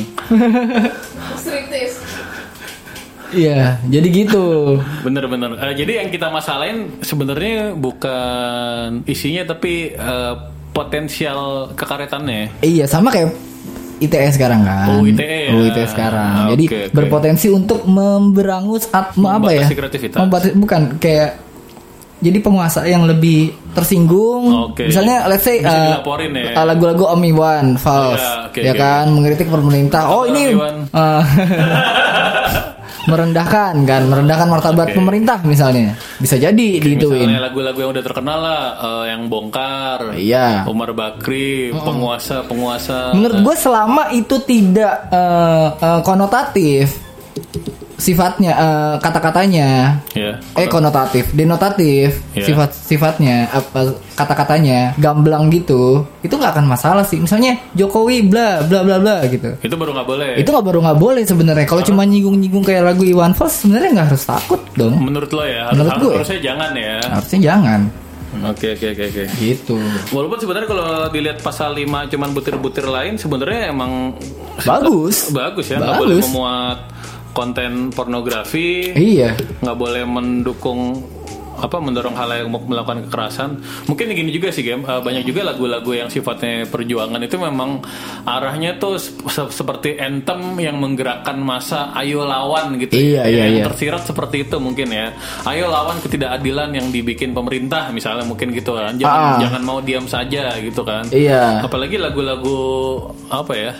H: striptis
A: Iya, jadi gitu.
B: Bener-bener. Eh, jadi yang kita masalahin sebenarnya bukan isinya tapi eh, potensial
A: *laughs*
B: kekaretannya. ya.
A: Iya, sama kayak ITS sekarang kan.
B: Oh, ITE ya.
A: Oh, ITE sekarang.
B: Oke,
A: Jadi
B: oke.
A: berpotensi untuk memberangus atma apa ya?
B: Membatasi kreativitas.
A: Membatasi- bukan kayak jadi penguasa yang lebih tersinggung.
B: Oke.
A: Misalnya let's say
B: Bisa
A: eh,
B: dilaporin ya.
A: eh, lagu-lagu Om Iwan false.
B: Iya, oke,
A: ya
B: oke.
A: kan mengkritik pemerintah. Oh,
B: Om
A: ini
B: Iwan.
A: eh, *laughs* merendahkan kan, merendahkan martabat
B: Oke.
A: pemerintah misalnya. Bisa jadi gituin.
B: Misalnya lagu-lagu yang udah terkenal lah, eh, yang bongkar,
A: Iya.
B: Umar Bakri, penguasa-penguasa.
A: Menurut gue selama itu tidak eh, eh, konotatif sifatnya eh, kata-katanya
B: Iya.
A: eh konotatif denotatif
B: Iya.
A: sifat sifatnya apa kata-katanya gamblang gitu itu nggak akan masalah sih misalnya Jokowi bla bla bla bla gitu
B: itu baru nggak boleh.
A: itu nggak baru nggak boleh sebenarnya kalau cuma nyinggung-nyinggung kayak lagu Iwan Fals sebenarnya nggak harus takut dong
B: menurut lo ya?
A: Menurut
B: harus-
A: gue. Ah.
B: Harusnya jangan ya.
A: harusnya jangan
B: Oke oke oke oke.
A: gitu
B: Walaupun sebenarnya kalau dilihat pasal 5 cuman butir-butir lain sebenarnya emang
A: Bagus.
B: *laughs* bagus ya nggak boleh
A: Bagus.
B: memuat konten pornografi
A: iya
B: nggak boleh mendukung apa mendorong hal yang mau melakukan kekerasan mungkin gini juga sih game eh, banyak juga lagu-lagu yang sifatnya perjuangan itu memang arahnya tuh se- seperti anthem yang menggerakkan masa ayo lawan gitu
A: Iya,
B: Ya,
A: iya,
B: yang
A: iya.
B: tersirat seperti itu mungkin ya ayo lawan ketidakadilan yang dibikin pemerintah misalnya mungkin gitu kan jangan
A: Ah.
B: jangan mau diam saja gitu kan
A: iya
B: apalagi lagu-lagu apa ya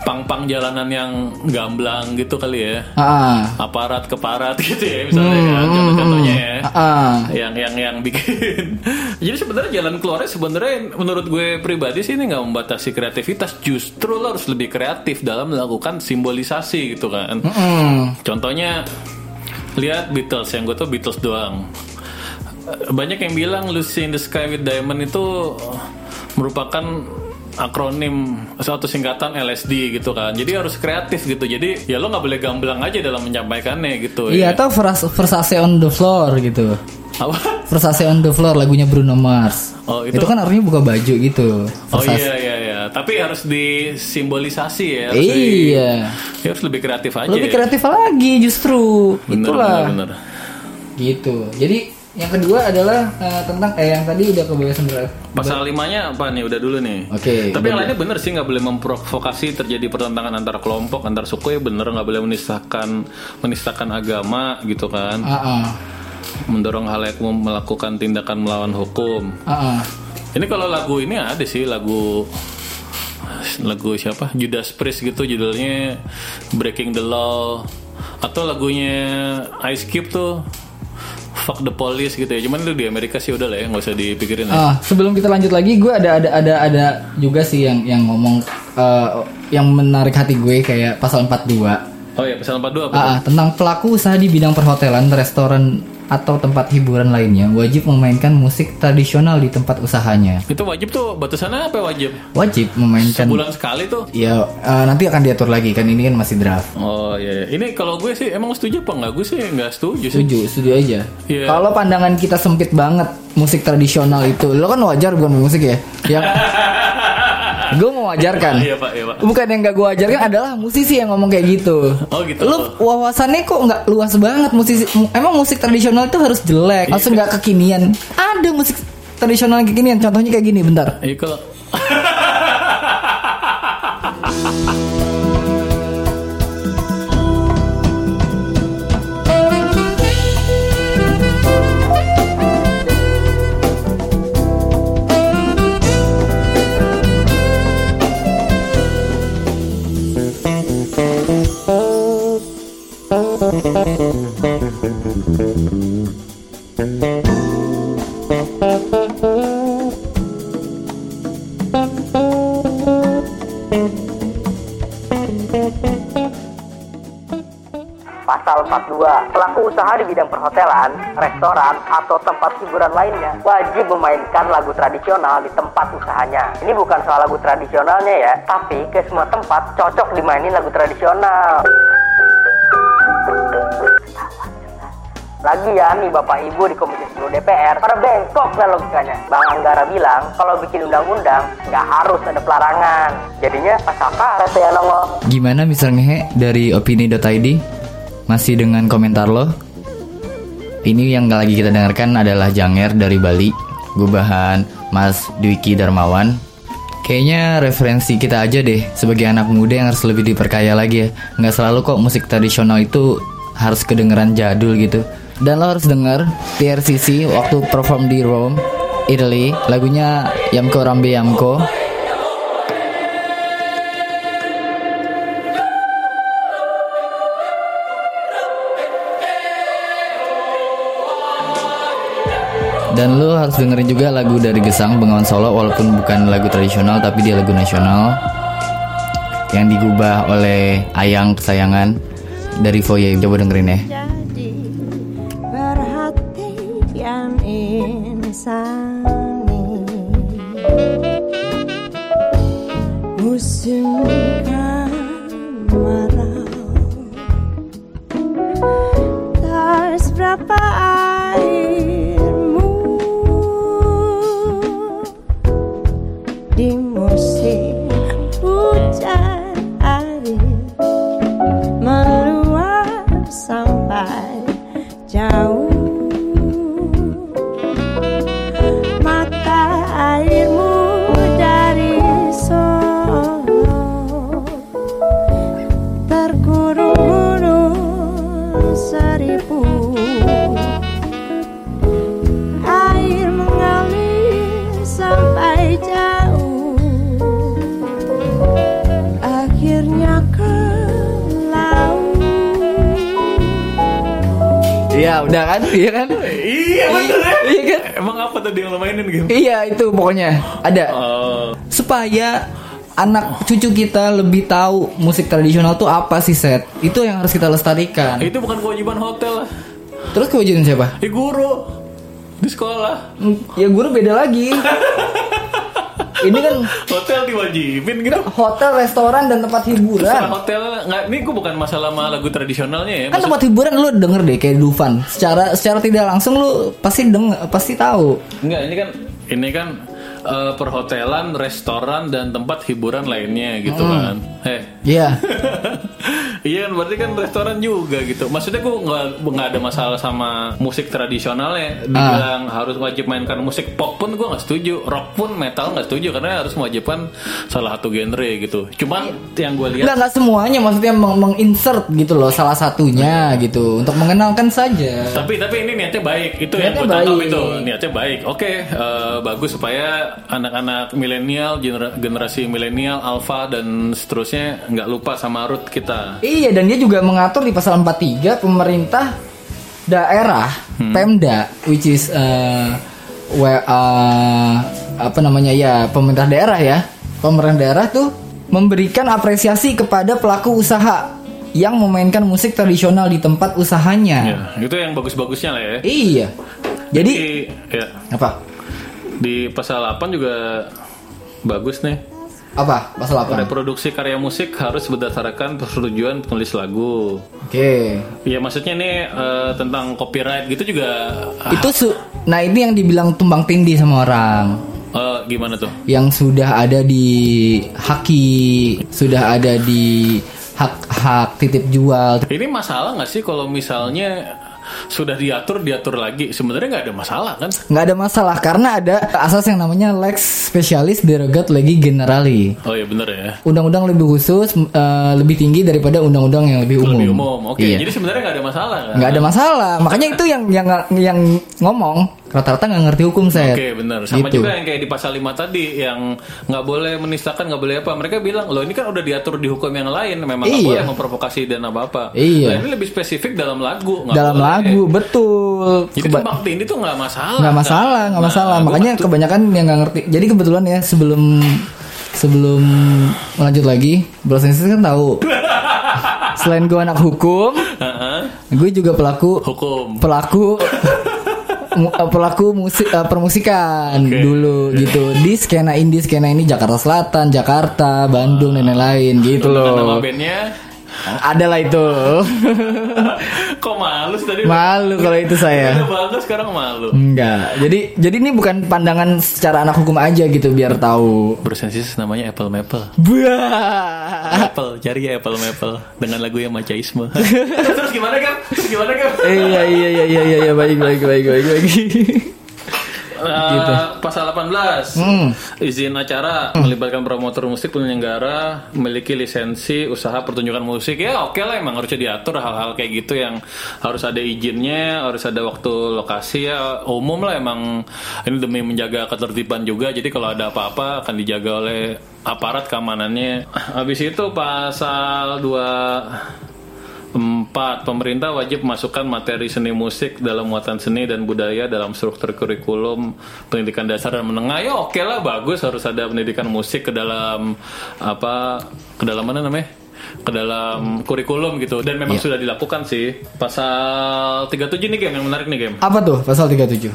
B: pang-pang jalanan yang gamblang gitu kali ya
A: ah
B: aparat ke parat gitu ya misalnya kan contoh-contohnya ya
A: ah, ah.
B: yang yang yang bikin *laughs* jadi sebenarnya jalan keluarnya sebenarnya menurut gue pribadi sih ini nggak membatasi kreativitas justru lo harus lebih kreatif dalam melakukan simbolisasi gitu kan
A: Mm.
B: contohnya lihat Beatles yang gue tuh Beatles doang banyak yang bilang Lucy in the Sky with Diamond itu merupakan akronim suatu singkatan LSD gitu kan jadi harus kreatif gitu jadi ya lo nggak boleh gamblang aja dalam menyampaikannya gitu
A: Iya
B: ya.
A: atau Vers- Versace on the floor gitu.
B: apa
A: Versace on the floor lagunya Bruno Mars.
B: Oh, itu-
A: itu, kan artinya buka baju gitu.
B: Oh
A: Versace.
B: iya iya iya, tapi harus disimbolisasi ya. Harus di-
A: Iya.
B: ya, harus lebih kreatif aja.
A: Lebih
B: ya.
A: kreatif lagi justru.
B: Bener,
A: Itulah.
B: bener, bener.
A: Gitu. Jadi yang kedua adalah eh, tentang eh yang tadi udah kebebasan ber-
B: Pasal limanya apa nih? Udah dulu nih.
A: Oke,
B: Tapi
A: udah
B: yang
A: dulu.
B: lainnya bener sih nggak boleh memprovokasi terjadi pertentangan antar kelompok, antar suku ya bener nggak boleh menistakan menistakan agama gitu kan.
A: Ah, ah.
B: mendorong halayak umum melakukan tindakan melawan hukum.
A: Heeh.
B: Ini kalau lagu ini ada sih lagu lagu siapa Judas Priest gitu judulnya Breaking the Law atau lagunya Ice Cube tuh Fuck the Police gitu ya. Cuman itu di Amerika sih udah lah ya nggak usah dipikirin lah.
A: Ah, sebelum kita lanjut lagi, gue ada ada ada ada juga sih yang yang ngomong eh, yang menarik hati gue kayak pasal 42.
B: Oh ya pasal 42 apa? tuh?
A: Ah, ah, tentang pelaku usaha di bidang perhotelan, restoran atau tempat hiburan lainnya wajib memainkan musik tradisional di tempat usahanya.
B: Itu wajib tuh batasannya apa wajib?
A: Wajib memainkan.
B: Sebulan sekali tuh.
A: Ya, eh, nanti akan diatur lagi kan ini kan masih draft.
B: Oh iya, iya. ini kalau gue sih emang setuju apa enggak? Gue sih enggak setuju sih.
A: Setuju, setuju aja.
B: Iya.
A: Kalau pandangan kita sempit banget musik tradisional itu, lo kan wajar gue musik ya.
B: *laughs*
A: Ya. gue mau wajarkan.
B: Iya, Pak, iya, Pak.
A: Bukan yang gak gue ajarkan adalah musisi yang ngomong kayak gitu.
B: Oh, gitu.
A: Lu wawasannya kok nggak luas banget musisi. mu- Emang musik tradisional itu harus jelek,
B: Iya.
A: harus nggak kekinian. Ada musik tradisional yang kekinian. Contohnya kayak gini, bentar.
B: Iya kalau
C: Pasal 42, pelaku usaha di bidang perhotelan, restoran, atau tempat hiburan lainnya wajib memainkan lagu tradisional di tempat usahanya. Ini bukan soal lagu tradisionalnya ya, tapi ke semua tempat cocok dimainin lagu tradisional. Lagian ya, nih Bapak Ibu di Komisi 10 DPR pada bengkok lah logikanya. Bang Anggara bilang kalau bikin undang-undang nggak harus ada pelarangan. Jadinya pasal karet ya nongol.
A: Gimana Mr. Ngehe dari opini.id? Masih dengan komentar lo? Ini yang lagi kita dengarkan adalah Janger dari Bali Gubahan Mas Dwiki Darmawan Kayaknya referensi kita aja deh Sebagai anak muda yang harus lebih diperkaya lagi ya Nggak selalu kok musik tradisional itu harus kedengeran jadul gitu Dan lo harus denger TRCC waktu perform di Rome Italy Lagunya Yamko Rambe Yamko Dan lu harus dengerin juga lagu dari Gesang Bengawan Solo walaupun bukan lagu tradisional tapi dia lagu nasional yang digubah oleh Ayang kesayangan dari Foye. Coba dengerin ya.
H: jadi perhatian insani musim kan kemarau tak seberapa airmu di musim hujan air meluap sampai jauh mata airmu dari Solo terkurung gunung seribu air mengalir sampai jauh akhirnya ke laut
A: Iya, udah kan? Iya kan?
B: Iya bener ya.
A: Iya kan?
B: Emang apa tadi yang lo mainin gitu?
A: Iya, itu pokoknya ada
B: Oh,
A: supaya anak cucu kita lebih tahu musik tradisional tuh apa sih set itu yang harus kita lestarikan
B: itu bukan kewajiban hotel lah.
A: terus kewajiban siapa
B: Di guru di sekolah.
A: ya guru beda lagi ini kan
B: Hotel diwajibin gitu.
A: hotel restoran dan tempat hiburan
B: Masalah hotel nggak ini gue bukan masalah sama lagu tradisionalnya ya.
A: kan
B: Maksud-
A: tempat hiburan lu denger deh kayak Dufan secara secara tidak langsung lu pasti deng pasti tahu
B: Enggak, ini kan ini kan eh,
A: Hmm.
B: perhotelan, restoran dan tempat hiburan lainnya gitu kan. Eh,
A: Iya
B: *laughs* Iya kan berarti kan restoran juga gitu. Maksudnya gue nggak nggak ada masalah sama musik tradisionalnya. Dibilang
A: Ah.
B: harus wajib mainkan musik pop pun gue nggak setuju. Rock pun metal nggak setuju karena harus mewajibkan salah satu genre gitu. Cuman yang gue lihat
A: Enggak enggak semuanya maksudnya meng- menginsert gitu loh salah satunya gitu untuk mengenalkan saja.
B: Tapi tapi ini niatnya baik itu yang
A: Niatnya
B: gue tangkap
A: baik.
B: itu niatnya baik. Oke eh, bagus supaya anak-anak milenial gener- generasi milenial alfa dan seterusnya nggak lupa sama root kita.
A: Iya dan dia juga mengatur di pasal 43 pemerintah daerah Pemda which is eh, we- eh, apa namanya ya pemerintah daerah ya pemerintah daerah tuh memberikan apresiasi kepada pelaku usaha yang memainkan musik tradisional di tempat usahanya.
B: Ya, itu yang bagus-bagusnya lah ya.
A: Iya. Jadi
B: ya,
A: apa?
B: di pasal 8 juga bagus nih.
A: Apa? Pasal apa? Oke.
B: Reproduksi karya musik harus berdasarkan persetujuan penulis lagu. Ya maksudnya nih eh, tentang copyright gitu juga
A: Itu su- nah ini yang dibilang tumbang tindih sama orang.
B: eh, gimana tuh?
A: yang sudah ada di haki, sudah ada di hak-hak titip jual.
B: Ini masalah nggak sih kalau misalnya sudah diatur diatur lagi sebenarnya nggak ada masalah kan?
A: Nggak ada masalah karena ada asas yang namanya lex specialis derogat legi generali.
B: Oh ya bener ya.
A: Undang-undang lebih khusus, eh, lebih tinggi daripada undang-undang yang lebih umum.
B: Lebih umum. Oke.
A: Iya.
B: Jadi sebenarnya nggak ada masalah kan?
A: nggak ada masalah. Makanya itu yang yang yang ngomong rata-rata nggak ngerti hukum saya.
B: Oke bener sama
A: Gitu.
B: juga yang kayak di pasal 5 tadi yang nggak boleh menistakan nggak boleh apa mereka bilang loh ini kan udah diatur di hukum yang lain memang nggak
A: Iya.
B: boleh memprovokasi dan apa apa
A: Iya.
B: ini lebih spesifik dalam lagu nggak
A: Dalam
B: boleh.
A: lagu betul.
B: jadi
A: Keba-
B: tumpang tindih tuh nggak masalah
A: nggak masalah nggak masalah
B: Nah,
A: makanya kebanyakan yang nggak ngerti jadi kebetulan ya sebelum sebelum lanjut lagi Bro Sensis kan tahu selain gue anak hukum
B: Heeh.
A: gue juga pelaku
B: hukum
A: pelaku mu- eh, pelaku musik eh, permusikan
B: Oke. Iya.
A: dulu gitu di skena ini skena ini Jakarta Selatan Jakarta Bandung dan lain-lain gitu
B: Dengan nama
A: loh
B: bandnya *laughs*
A: adalah itu
B: kok malu sih tadi
A: malu kalau itu saya
B: Udah bagus sekarang malu
A: Enggak. Jadi jadi ini bukan pandangan secara anak hukum aja gitu biar tahu.
B: bersensis namanya Apple Maple
A: Buah.
B: Apple, cari ya Apple Maple dengan lagu yang
A: *laughs*
B: macaisme. Terus gimana kan? Terus gimana kan?
A: Eh, iya iya iya iya iya iya, baik baik baik baik baik.
B: Eh,
A: Gitu.
B: Pasal 18
A: Hmm.
B: Izin acara Melibatkan promotor musik penyelenggara Memiliki lisensi usaha pertunjukan musik Ya oke lah emang harusnya diatur Hal-hal kayak gitu yang harus ada izinnya Harus ada waktu lokasi ya Umum lah emang Ini demi menjaga ketertiban juga Jadi kalau ada apa-apa akan dijaga oleh aparat keamanannya Habis itu pasal 2 Empat, pemerintah wajib masukkan materi seni musik dalam muatan seni dan budaya dalam struktur kurikulum pendidikan dasar dan menengah. Ya oke lah, bagus harus ada pendidikan musik ke dalam apa? Ke dalam mana namanya? Ke dalam kurikulum gitu. Dan memang sudah dilakukan sih. Pasal 37 nih game yang menarik nih game.
A: Apa tuh pasal 37?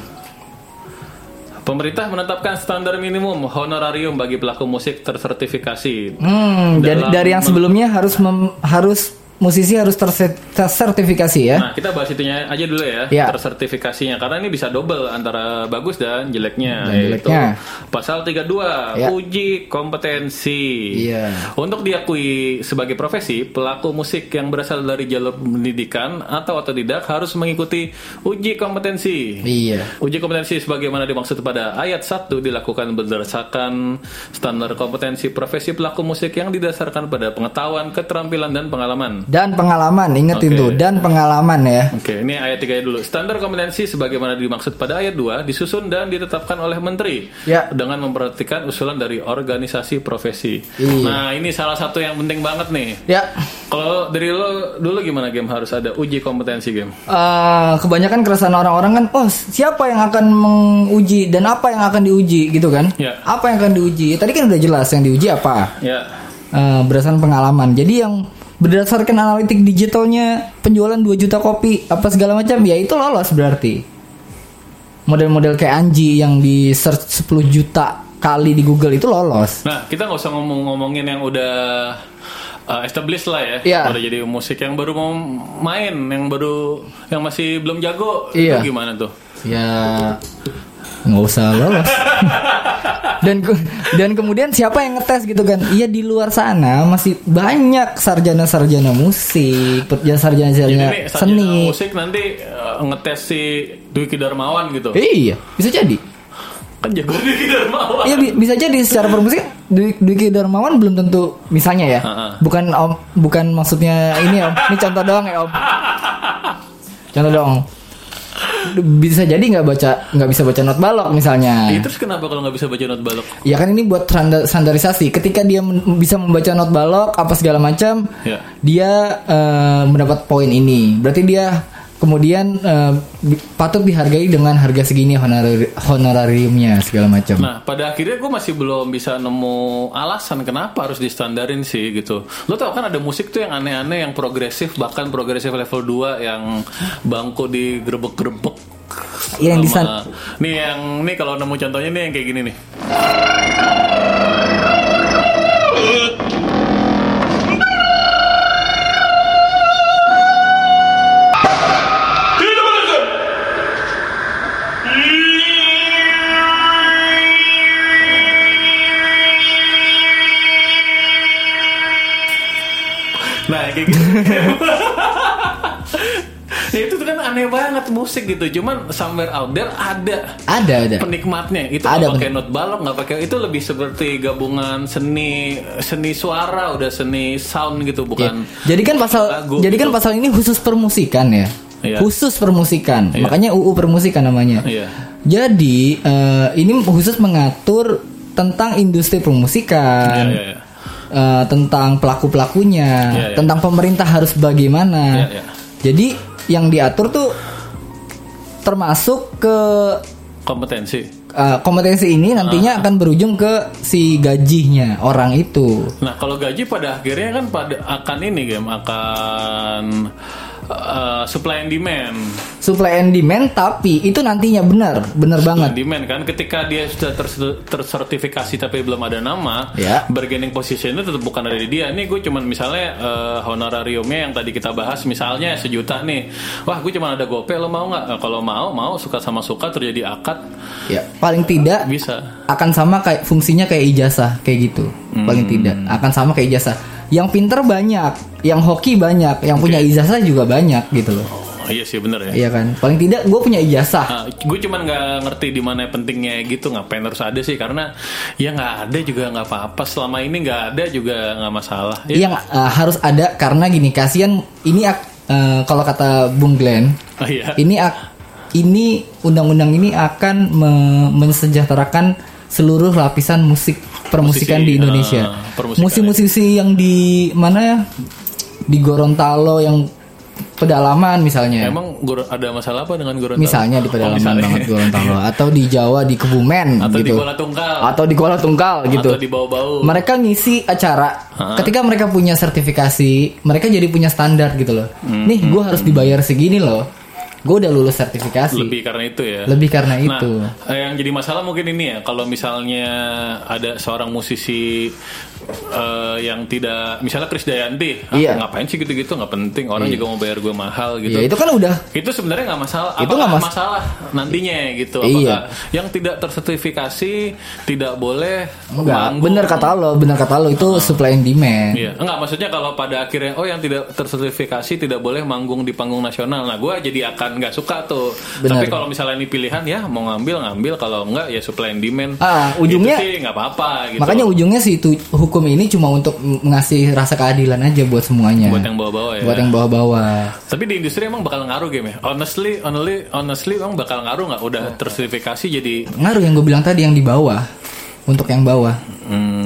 B: Pemerintah menetapkan standar minimum honorarium bagi pelaku musik tersertifikasi.
A: Hmm, dari
B: Dalam-
A: dari yang sebelumnya harus mem- harus musisi harus terse- tersertifikasi ya.
B: Nah, kita bahas itunya aja dulu ya,
A: Ya.
B: tersertifikasinya. Karena ini bisa double antara bagus dan jeleknya.
A: Dan jeleknya.
B: Yaitu pasal 32,
A: Ya.
B: uji kompetensi.
A: Iya.
B: Untuk diakui sebagai profesi, pelaku musik yang berasal dari jalur pendidikan atau otodidak harus mengikuti uji kompetensi.
A: Iya.
B: Uji kompetensi sebagaimana dimaksud pada ayat 1 dilakukan berdasarkan standar kompetensi profesi pelaku musik yang didasarkan pada pengetahuan, keterampilan, dan pengalaman.
A: Dan pengalaman, ingetin
B: Oke.
A: tuh, dan pengalaman ya.
B: Oke, ini ayat 3 dulu. Standar kompetensi sebagaimana dimaksud pada ayat 2 disusun dan ditetapkan oleh menteri
A: Ya.
B: dengan memperhatikan usulan dari organisasi profesi.
A: Iya.
B: Nah, ini salah satu yang penting banget nih.
A: Ya.
B: Kalau dari lo dulu gimana game harus ada uji kompetensi game?
A: eh, kebanyakan keresahan orang-orang kan, oh siapa yang akan menguji dan apa yang akan diuji gitu kan?
B: Ya.
A: Apa yang akan diuji? Tadi kan udah jelas yang diuji apa.
B: Ya.
A: eh, berdasarkan pengalaman. Jadi yang berdasarkan analitik digitalnya penjualan 2 juta kopi apa segala macam ya itu lolos berarti. Model-model kayak Anji yang di search 10 juta kali di Google itu lolos.
B: Nah, kita nggak usah ngomong-ngomongin yang udah uh, established lah ya.
A: Iya.
B: Udah jadi musik yang baru mau main, yang baru yang masih belum jago
A: Iya.
B: itu gimana tuh? *laughs*
A: Ya nggak usah lolos. dan ke- dan kemudian siapa yang ngetes gitu kan iya di luar sana masih banyak sarjana-sarjana musik ya
B: Jadi
A: sarjana-sarjana
B: nih sarjana
A: seni
B: musik nanti eh, ngetes si Dwiki Darmawan gitu.
A: iya bisa jadi
B: Kan jago Dwiki Darmawan.
A: Iya bi- bisa jadi secara permusik Dwi- Dwiki Darmawan belum tentu misalnya ya.
B: Heeh.
A: Bukan om bukan maksudnya ini om. Ini contoh doang
B: *laughs*
A: ya om. Contoh doang. D- Bisa jadi nggak baca nggak bisa baca not balok misalnya.
B: Ih, Nah, terus kenapa kalau nggak bisa baca not balok?
A: Ya kan ini buat standar- standarisasi. Ketika dia men- bisa membaca not balok apa segala macam,
B: Ya.
A: dia eh, mendapat poin ini. Berarti dia kemudian eh, bi- patut dihargai dengan harga segini honorar- honorariumnya segala macam.
B: Nah, pada akhirnya gue masih belum bisa nemu alasan kenapa harus distandarin sih gitu. Lo tau kan ada musik tuh yang aneh-aneh, yang progresif, bahkan progresif level 2 yang bangku digerebek-gerebek.
A: Iya, yang
B: Sama-
A: distan-
B: Nih yang nih kalau nemu contohnya nih yang kayak gini nih. Nah, kayak gitu.
A: *laughs*
B: Ya, itu tuh kan aneh banget musik gitu. Cuman somewhere out there ada
A: Ada ada.
B: penikmatnya. Itu
A: Ya. Ada
B: nggak pakai not balok, nggak pakai itu lebih seperti gabungan seni seni suara, udah seni sound gitu, bukan.
A: Iya. Jadi kan pasal
B: lagu
A: jadi kan
B: gitu.
A: pasal ini khusus permusikan ya.
B: Iya.
A: Khusus permusikan.
B: Iya.
A: Makanya UU permusikan namanya.
B: Iya.
A: Jadi eh, ini khusus mengatur tentang industri permusikan.
B: Iya, iya, iya.
A: eh, tentang pelaku-pelakunya,
B: Iya, iya.
A: tentang pemerintah harus bagaimana.
B: Iya, iya.
A: Jadi yang diatur tuh termasuk ke
B: Kompetensi.
A: eh, kompetensi ini
B: Ah.
A: nantinya akan berujung ke si gajinya orang itu.
B: Nah, kalau gaji pada akhirnya kan pada akan ini game akan eh, supply and demand.
A: supply and demand tapi itu nantinya benar benar banget
B: Nah, demand kan ketika dia sudah ter- tersertifikasi tapi belum ada nama,
A: Ya.
B: bargaining position itu tetap bukan ada di dia. Ini gue cuman misalnya eh, honorariumnya yang tadi kita bahas misalnya sejuta nih. Wah, gue cuman ada gope lo mau nggak? Eh, kalau mau, mau suka sama suka terjadi akad
A: ya paling tidak
B: bisa.
A: akan sama kayak fungsinya kayak ijazah kayak gitu
B: Hmm.
A: paling tidak akan sama kayak ijazah yang pinter banyak yang hoki banyak yang punya ijazah juga banyak gitu loh
B: Oh, iya sih bener ya.
A: iya kan paling tidak gue punya ijazah
B: gue cuman nggak ngerti di mana pentingnya gitu ngapain harus ada sih karena ya nggak ada juga nggak apa-apa selama ini nggak ada juga nggak masalah ya,
A: yang eh, harus ada karena gini kasihan ini ak- eh, kalau kata Bung Glenn
B: Oh, iya.
A: ini ak- ini undang-undang ini akan me- mensejahterakan seluruh lapisan musik permusikan
B: Musisi,
A: di Indonesia.
B: ah, permusikan,
A: Musisi-musisi yang di mana ya? Di Gorontalo yang pedalaman misalnya.
B: emang Gor- ada masalah apa dengan Gorontalo
A: Iya. misalnya di pedalaman
B: Oh, misalnya.
A: banget
B: *laughs*
A: Gorontalo atau di Jawa di Kebumen
B: atau di
A: gitu.
B: Kuala Tunggal
A: atau di Kuala Tunggal gitu.
B: Atau di bau-bau
A: Mereka ngisi acara.
B: Hah?
A: Ketika mereka punya sertifikasi, mereka jadi punya standar gitu loh.
B: Hmm,
A: Nih, gue harus dibayar segini loh. Gue udah lulus sertifikasi.
B: lebih karena itu ya
A: Lebih karena
B: Nah,
A: itu.
B: eh, yang jadi masalah mungkin ini ya, kalau misalnya ada seorang musisi eh, yang tidak, misalnya Chris Dayanti, ah,
A: Iya.
B: ngapain sih gitu-gitu, nggak penting, orang juga mau bayar gue mahal gitu.
A: Ya itu kan udah
B: itu sebenarnya nggak masalah
A: Itu
B: Apakah
A: nggak mas-
B: masalah nantinya gitu apakah
A: Iya.
B: yang tidak tersertifikasi tidak boleh
A: enggak
B: manggung.
A: bener kata lo, bener kata lo itu supply and demand.
B: Iya, enggak maksudnya kalau pada akhirnya oh yang tidak tersertifikasi tidak boleh manggung di panggung nasional. Nah, gua jadi akan nggak suka tuh.
A: Benar.
B: Tapi kalau misalnya ini pilihan ya mau ngambil ngambil kalau enggak ya supply and demand.
A: Ah, ujungnya-
B: Gitu sih nggak apa-apa gitu.
A: Makanya ujungnya sih itu hukum ini cuma untuk ngasih rasa keadilan aja buat semuanya.
B: buat yang bawa-bawa ya.
A: Buat yang bawah-bawah.
B: Tapi di industri emang bakal ngaruh game ya. Honestly, honestly, honestly emang bakal ngaruh nggak udah
A: Oh.
B: tersertifikasi jadi
A: Ngaruh yang gue bilang tadi yang di bawah untuk yang bawah.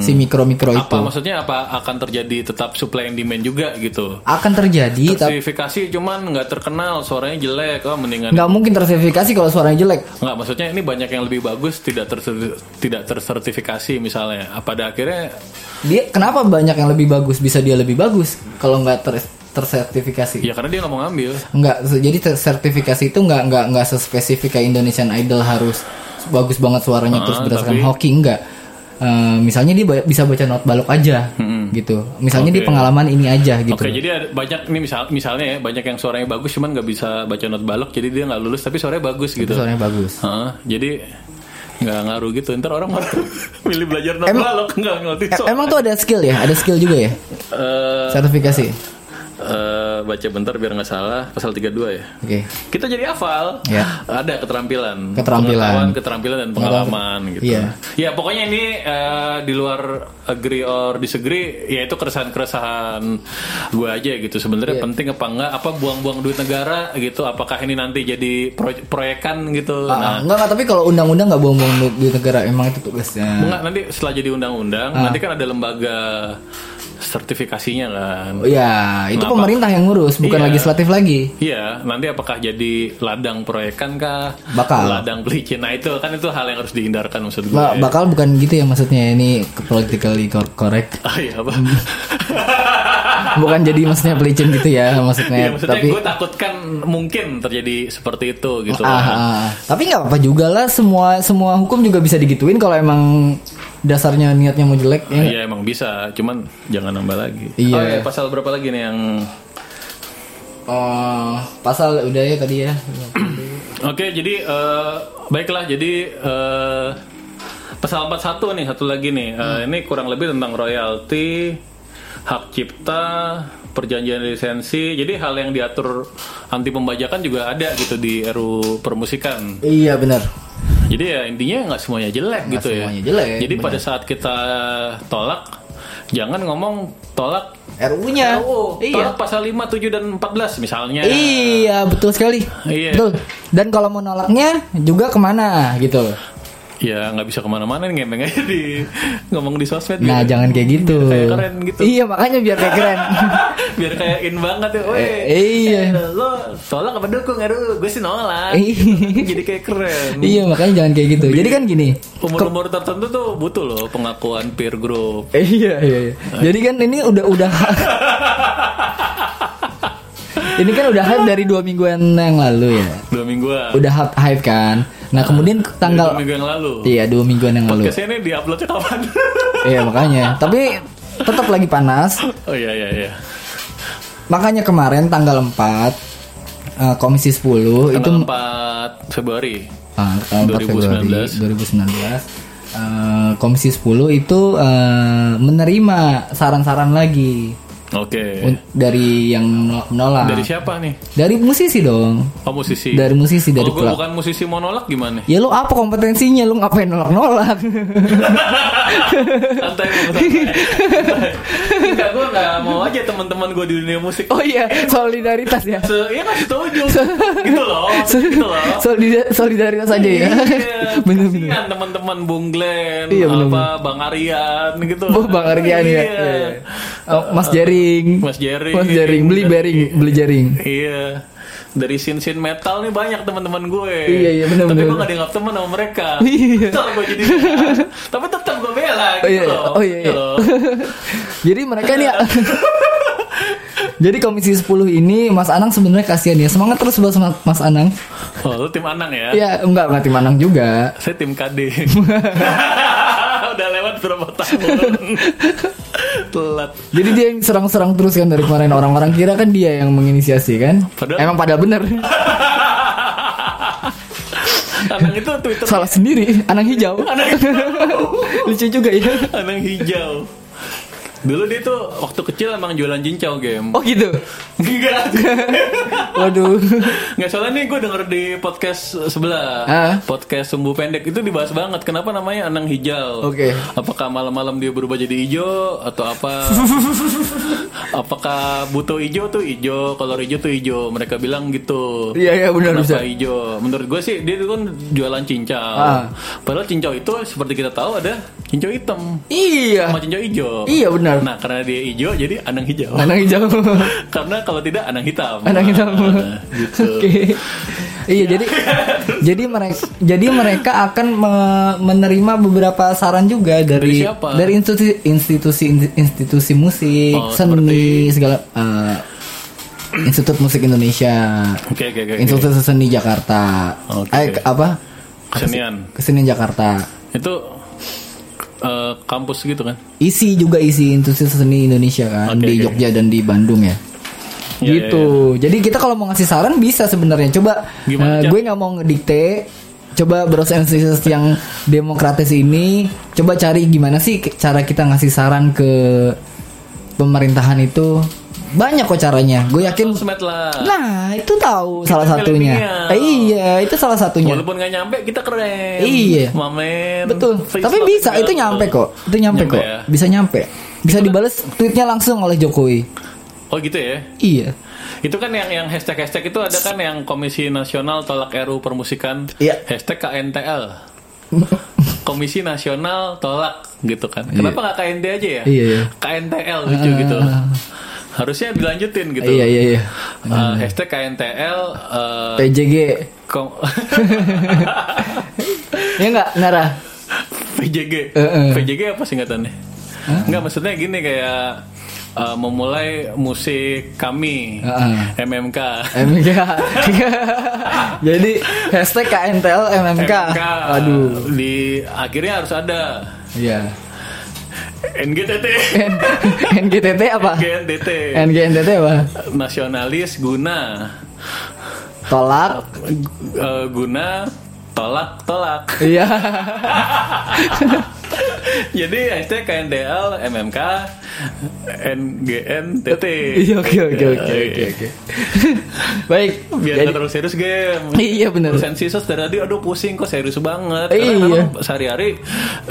A: Si mikro-mikro
B: Hmm.
A: Oh,
B: apa
A: itu
B: maksudnya apa akan terjadi tetap supply and demand juga gitu
A: akan terjadi Iya, tapi
B: sertifikasi cuman nggak terkenal suaranya jelek oh mendingan
A: nggak mungkin tersertifikasi kalau suaranya jelek.
B: nggak maksudnya ini banyak yang lebih bagus tidak terser- tidak tersertifikasi misalnya apa pada akhirnya
A: dia kenapa banyak yang lebih bagus bisa dia lebih bagus kalau nggak ter tersertifikasi
B: ya karena dia nggak mau ngambil
A: nggak se- jadi sertifikasi itu nggak nggak nggak sespesifik kayak Indonesian Idol harus bagus banget suaranya
B: Ah,
A: terus berdasarkan
B: tapi-
A: hoki nggak Eh, misalnya dia ba- bisa baca not balok aja gitu misalnya dia
B: Oke.
A: pengalaman ini aja gitu
B: oke jadi ada banyak ini misal misalnya ya banyak yang suaranya bagus cuman nggak bisa baca not balok jadi dia nggak lulus tapi suaranya bagus
A: itu
B: gitu
A: suaranya bagus
B: Heeh, jadi nggak ngaruh gitu ntar orang malah *laughs* milih belajar non
A: Emang-
B: balok nggak ngerti
A: Em-
B: soal.
A: Emang tuh ada skill ya? Ada skill juga ya?
B: Eh,
A: Sertifikasi.
B: eh, baca bentar biar nggak salah pasal 32 ya
A: Oke.
B: kita jadi hafal
A: Ya.
B: ada keterampilan
A: Keterampilan.
B: Pengetahuan, keterampilan dan pengalaman gitu
A: Iya.
B: ya pokoknya ini eh, di luar agree or disagree ya itu keresahan keresahan gue aja gitu
A: Iya.
B: sebenarnya penting apa enggak apa buang-buang duit negara gitu apakah ini nanti jadi pro- proyekan gitu
A: Ah,
B: Nah,
A: ah, enggak, enggak, tapi kalau undang-undang enggak bohong-bohong du- duit negara, emang itu tugasnya.
B: Enggak, nanti setelah jadi undang-undang,
A: Ah.
B: nanti kan ada lembaga sertifikasinya kan.
A: Oh, Iya, itu
B: Kenapa?
A: pemerintah yang ngurus, bukan
B: Iya.
A: legislatif lagi.
B: Iya, nanti apakah jadi ladang proyekan kah?
A: Bakal.
B: Ladang pelicin. Nah itu kan itu hal yang harus dihindarkan maksud gue.
A: Ba- bakal bukan gitu ya maksudnya ini ke- politically cor- correct.
B: Ah iya
A: Hmm.
B: *laughs* apa?
A: Bukan jadi maksudnya pelicin gitu
B: *laughs*
A: ya
B: Iya,
A: maksudnya,
B: maksudnya
A: tapi
B: gue takutkan mungkin terjadi seperti itu gitu.
A: Ah,
B: kan.
A: ah, ah. tapi nggak apa-apa juga lah semua semua hukum juga bisa digituin kalau emang dasarnya niatnya mau jelek ya nggak?
B: Iya emang bisa, cuman jangan nambah lagi.
A: Iya.
B: Oh, pasal berapa lagi nih yang?
A: Oh, pasal udah ya tadi ya
B: Oke, jadi eh, baiklah. Jadi eh, pasal 41 nih satu lagi nih. Eh,
A: Hmm.
B: Ini kurang lebih tentang royalti, hak cipta, perjanjian lisensi. Jadi hal yang diatur anti pembajakan juga ada gitu di RU permusikan.
A: iya benar
B: Jadi ya intinya nggak semuanya jelek gitu
A: semuanya
B: ya.
A: jelek,
B: Jadi
A: benar.
B: pada saat kita tolak, jangan ngomong tolak.
A: RU-nya
B: Tolak pasal 5, 7 dan 14 misalnya.
A: iya betul sekali
B: Iya.
A: betul dan kalau mau nolaknya juga kemana gitu loh
B: Ya nggak bisa kemana-mana nih ngemeng aja di ngomong di sosmed.
A: nah
B: gitu.
A: jangan kayak gitu
B: Kayak keren gitu.
A: iya makanya biar kayak keren
B: *laughs* Biar kayak in banget ya. Weh,
A: Eh, iya.
B: eh, Lo tolak apa dukung? Aduh, gue sih nolak.
A: Iya.
B: Gitu. *laughs* Jadi kayak keren.
A: iya makanya jangan kayak gitu jadi kan gini
B: Umur-umur tertentu tuh butuh loh pengakuan peer group.
A: Eh, iya iya iya. Jadi kan ini udah udah *laughs* Ini kan udah hype dari dua mingguan yang lalu ya.
B: Dua mingguan.
A: Udah hype, hype kan. Nah, kemudian tanggal
B: Dua minggu yang lalu.
A: Iya, dua mingguan yang lalu.
B: Podcastnya ini diuploadnya kapan? *laughs*
A: Iya, makanya. Tapi tetap lagi panas.
B: oh iya iya iya.
A: Makanya kemarin tanggal 4 eh, Komisi 10 itu
B: Tanggal 4 Februari.
A: Ah, tanggal 4
B: 2019.
A: Februari 2019 eh, Komisi 10 itu eh, menerima saran-saran lagi
B: Oke.
A: un- dari yang menolak.
B: Iya. Dari siapa nih?
A: Dari musisi dong.
B: Oh musisi.
A: Dari musisi, dari
B: Kalau gue
A: pelak-
B: bukan musisi monolak gimana?
A: *laughs* Ya lu apa kompetensinya? Lu ngapain
B: *laughs*
A: nolak-nolak?
B: santai Bung, santai. Enggak, gue gak mau aja teman-teman gue di dunia musik.
A: oh iya, solidaritas ya.
B: Se iya kan setuju. gitu loh, gitu loh.
A: Solida- solidaritas aja ya. *laughs*
B: Iya,
A: Bener-bener.
B: kasihan teman-teman Bung Glenn,
A: Iya, bener,
B: apa Bang Aryan gitu.
A: Oh, Bang Ardian ya.
B: Iya.
A: Iya, iya. Oh, Mas Jaring.
B: Mas Jaring.
A: Mas Jaring beli bearing, beli jaring. *laughs*
B: Iya. Dari sin-sin metal nih banyak teman-teman gue.
A: Iya, iya, bener,
B: Tapi
A: bener,
B: gue
A: bener.
B: gak dianggap teman sama mereka.
A: *laughs* Iya.
B: Tetap gue jadi. Tapi tetap gue bela gitu
A: Oh iya,
B: loh.
A: oh iya.
B: Gitu
A: iya. *laughs*
B: loh.
A: Jadi mereka nih ya. *laughs* Jadi komisi 10 ini Mas Anang sebenarnya kasihan ya. Semangat terus buat sama Mas Anang.
B: Oh, lu tim Anang ya?
A: Iya, enggak enggak tim Anang juga.
B: Saya tim
A: *laughs*
B: KD. Udah lewat berapa
A: *laughs*
B: tahun? Telat. *laughs*
A: Jadi dia yang serang-serang terus kan dari kemarin orang-orang kira kan dia yang menginisiasi kan.
B: Padahal-
A: Emang pada bener.
B: Anang itu Twitter.
A: Salah sendiri, Anang
B: *laughs*
A: hijau.
B: Anang hijau.
A: *laughs* Lucu juga ya.
B: Anang hijau. Dulu dia tuh waktu kecil emang jualan cincau game. *laughs*
A: Oh gitu.
B: Enggak.
A: *laughs*
B: *laughs*
A: Waduh.
B: Nggak soalnya nih gue denger di podcast sebelah
A: Ah.
B: Podcast Sumbu Pendek Itu dibahas banget Kenapa namanya Anang Hijau
A: Oke.
B: Apakah malam-malam dia berubah jadi hijau Atau
A: *laughs*
B: apa Apakah butuh hijau tuh hijau Kalau hijau tuh hijau Mereka bilang gitu
A: Iya, iya, benar, bisa.
B: Kenapa hijau Menurut gue sih Dia itu kan jualan cincau
A: Ah.
B: Padahal cincau itu Seperti kita tahu ada Cincau hitam
A: Iya.
B: Sama cincau hijau
A: Iya, benar.
B: Nah karena dia hijau Jadi Anang Hijau
A: Anang hijau.
B: *laughs* Karena kalau tidak Anang hitam
A: Anang hitam.
B: Ah, gitu.
A: *laughs* Oke. Iya,
B: *laughs*
A: jadi jadi mereka jadi mereka akan me- menerima beberapa saran juga dari
B: Dari siapa?
A: dari institusi institusi institusi musik,
B: Oh,
A: seni segala eh, Institut Musik Indonesia.
B: Oke oke oke. oke.
A: Institut Seni Jakarta.
B: Oke.
A: Eh, ke- apa?
B: Kesenian.
A: Kesenian Jakarta.
B: Itu eh, kampus gitu kan?
A: Isi juga isi Institut Seni Indonesia kan
B: Oke,
A: di
B: oke.
A: Jogja dan di Bandung ya.
B: Iya,
A: gitu. Jadi kita kalau mau ngasih saran bisa sebenarnya. Coba
B: Gimana,
A: eh,
B: Cak?
A: gue nggak mau ngedikte. coba Bros and Sisters yang demokratis ini coba cari gimana sih ke- cara kita ngasih saran ke pemerintahan itu banyak kok caranya gue yakin
B: Sosmed lah.
A: nah itu tahu salah
B: Kita
A: satunya
B: filipinnya.
A: Eh, iya itu salah satunya
B: Walaupun nggak nyampe kita keren.
A: Iya.
B: Mamen.
A: betul
B: face
A: tapi
B: lock
A: bisa
B: segala
A: itu
B: tuh.
A: nyampe kok itu nyampe,
B: Nyampe
A: kok
B: ya. kan?
A: bisa nyampe bisa dibales tweetnya langsung oleh Jokowi
B: Oh gitu ya.
A: iya
B: Itu kan yang yang hashtag hashtag itu ada kan yang Komisi Nasional Tolak RU Permusikan.
A: Iya.
B: Hashtag
A: *laughs*
B: KNTL. Komisi Nasional Tolak gitu kan.
A: Iya.
B: Kenapa nggak KND aja ya?
A: Iya, iya. Ah.
B: KNTL lucu gitu. Harusnya dilanjutin gitu.
A: iya iya iya
B: Eh, hashtag KNTL. eh,
A: PJG
B: *laughs* kom-
A: ya enggak Nara
B: PJG.
A: Heeh.
B: PJG apa singkatannya? Enggak maksudnya gini kayak uh, memulai musik kami
A: Heeh.
B: MMK.
A: MMK *laughs* jadi hashtag KNTL MMK aduh
B: Di akhirnya harus ada
A: iya
B: NGTT.
A: *laughs* NGTT apa
B: NGTT.
A: NGNTT apa
B: Nasionalis guna
A: tolak
B: Eh, guna tolak tolak. *laughs*
A: iya
B: Jadi hashtag KNDL MMK NGNTT.
A: iya oke oke oke oke oke baik
B: biar
A: jadi-
B: nggak terlalu serius game
A: Iya, bener.
B: sensisus dari tadi aduh pusing kok serius banget
A: Iya.
B: karena emang sehari-hari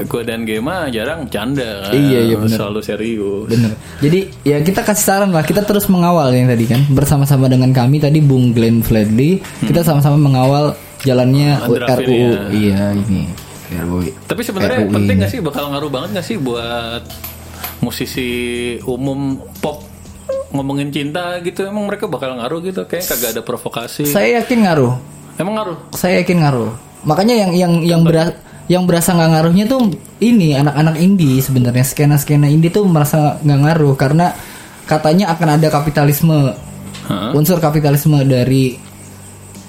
B: gue dan Gema jarang bercanda kan.
A: Iya, iya, bener.
B: selalu serius
A: Bener. Jadi ya kita kasih saran lah. Kita terus mengawal yang tadi kan bersama-sama dengan kami tadi Bung Glenn Fredly. Kita
B: Hmm.
A: sama-sama mengawal jalannya
B: Draft
A: RUU.
B: ini ya.
A: Iya ini. RUU.
B: tapi sebenarnya
A: RUU
B: penting
A: ini.
B: gak sih bakal ngaruh banget gak sih buat musisi umum pop ngomongin cinta gitu emang mereka bakal ngaruh gitu kayak kagak ada provokasi
A: Saya yakin ngaruh.
B: emang ngaruh
A: Saya yakin ngaruh. Makanya yang yang yang berasa yang berasa nggak ngaruhnya tuh ini anak-anak indie sebenarnya skena-skena indie tuh merasa nggak ngaruh karena katanya akan ada kapitalisme
B: Hah?
A: unsur kapitalisme dari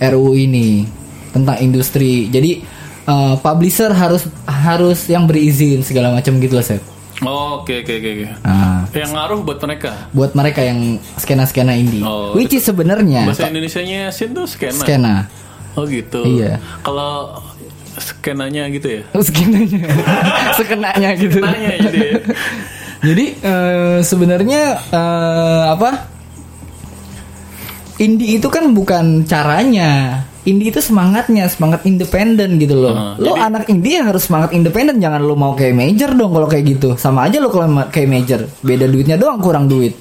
A: RUU ini tentang industri. Jadi eh, publisher harus harus yang berizin segala macam gitu loh, Sep.
B: Oh, oke oke oke oke.
A: Ah,
B: yang ngaruh buat mereka
A: buat mereka yang skena-skena indie.
B: Oh,
A: Which is sebenarnya
B: bahasa Indonesianya sin tuh skena
A: skena.
B: Oh gitu.
A: Iya.
B: Kalau skenanya gitu ya.
A: *laughs* Skenanya. Sekenanya gitu.
B: Skenanya jadi. ya.
A: *laughs* Jadi eh, sebenarnya eh, apa? Indie itu kan bukan caranya. Indie itu semangatnya, semangat independen gitu loh.
B: Heeh,
A: lo
B: jadi-
A: anak indie ya harus semangat independen, jangan lo mau kayak major dong kalau kayak gitu. Sama aja lo kalau ma- kayak major, beda duitnya doang kurang duit.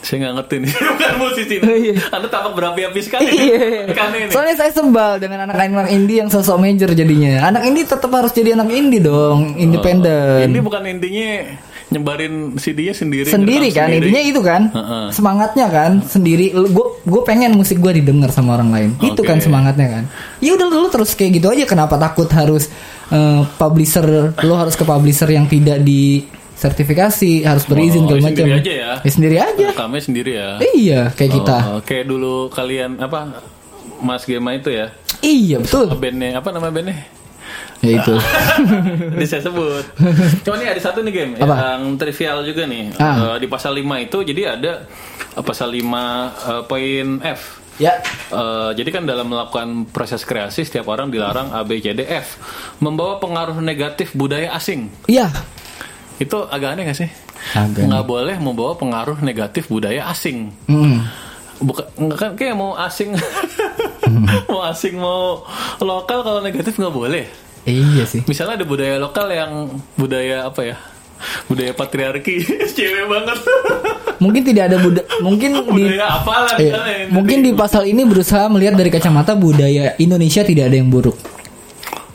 B: Saya nggak ngerti nih. *laughs* Bukan musisi.
A: Iya.
B: Anda tampak berapi-api sekali.
A: *laughs* Iya.
B: Kan ini.
A: Soalnya saya sebal dengan anak-anak indie yang sosok major jadinya. Anak indie tetap harus jadi anak indie dong, independen.
B: Ini bukan intinya nyebarin CD-nya sendiri.
A: sendiri kan
B: ngerekam sendiri.
A: intinya itu kan
B: Heeh.
A: semangatnya kan sendiri gue gue pengen musik gue didengar sama orang lain itu
B: Oke.
A: kan semangatnya kan ya udah lu terus kayak gitu aja kenapa takut harus eh, publisher lu harus ke publisher yang tidak di sertifikasi harus berizin
B: Oh,
A: segala macam
B: sendiri aja ya?
A: Ya, sendiri aja
B: Rekamnya sendiri ya.
A: iya kayak kita
B: Oh, kayak dulu kalian apa Mas Gema itu ya.
A: iya betul
B: Bandnya apa
A: *laughs*
B: nama bandnya?
A: ya itu
B: Ini saya
A: *laughs*
B: sebut. Cuma nih ada satu nih game
A: Apa?
B: yang trivial juga nih.
A: Ah.
B: Eh, di pasal 5 itu jadi ada eh, pasal 5 eh, poin F.
A: ya
B: Eh, jadi kan dalam melakukan proses kreasi setiap orang dilarang A B C D F membawa pengaruh negatif budaya asing.
A: iya
B: Itu agak aneh gak sih?
A: Agak.
B: Nggak boleh membawa pengaruh negatif budaya asing.
A: Mm.
B: Bukan nggak kan kayak mau
A: *laughs*
B: asing, mau asing mau lokal kalau negatif nggak boleh.
A: iya sih
B: Misalnya ada budaya lokal yang budaya apa ya? Budaya patriarki, *laughs* cewek banget.
A: mungkin tidak ada buda mungkin di
B: budaya apalah
A: Iya.
B: misalnya? yang
A: mungkin di
B: jadi-
A: pasal ini berusaha melihat dari kacamata budaya Indonesia tidak ada yang buruk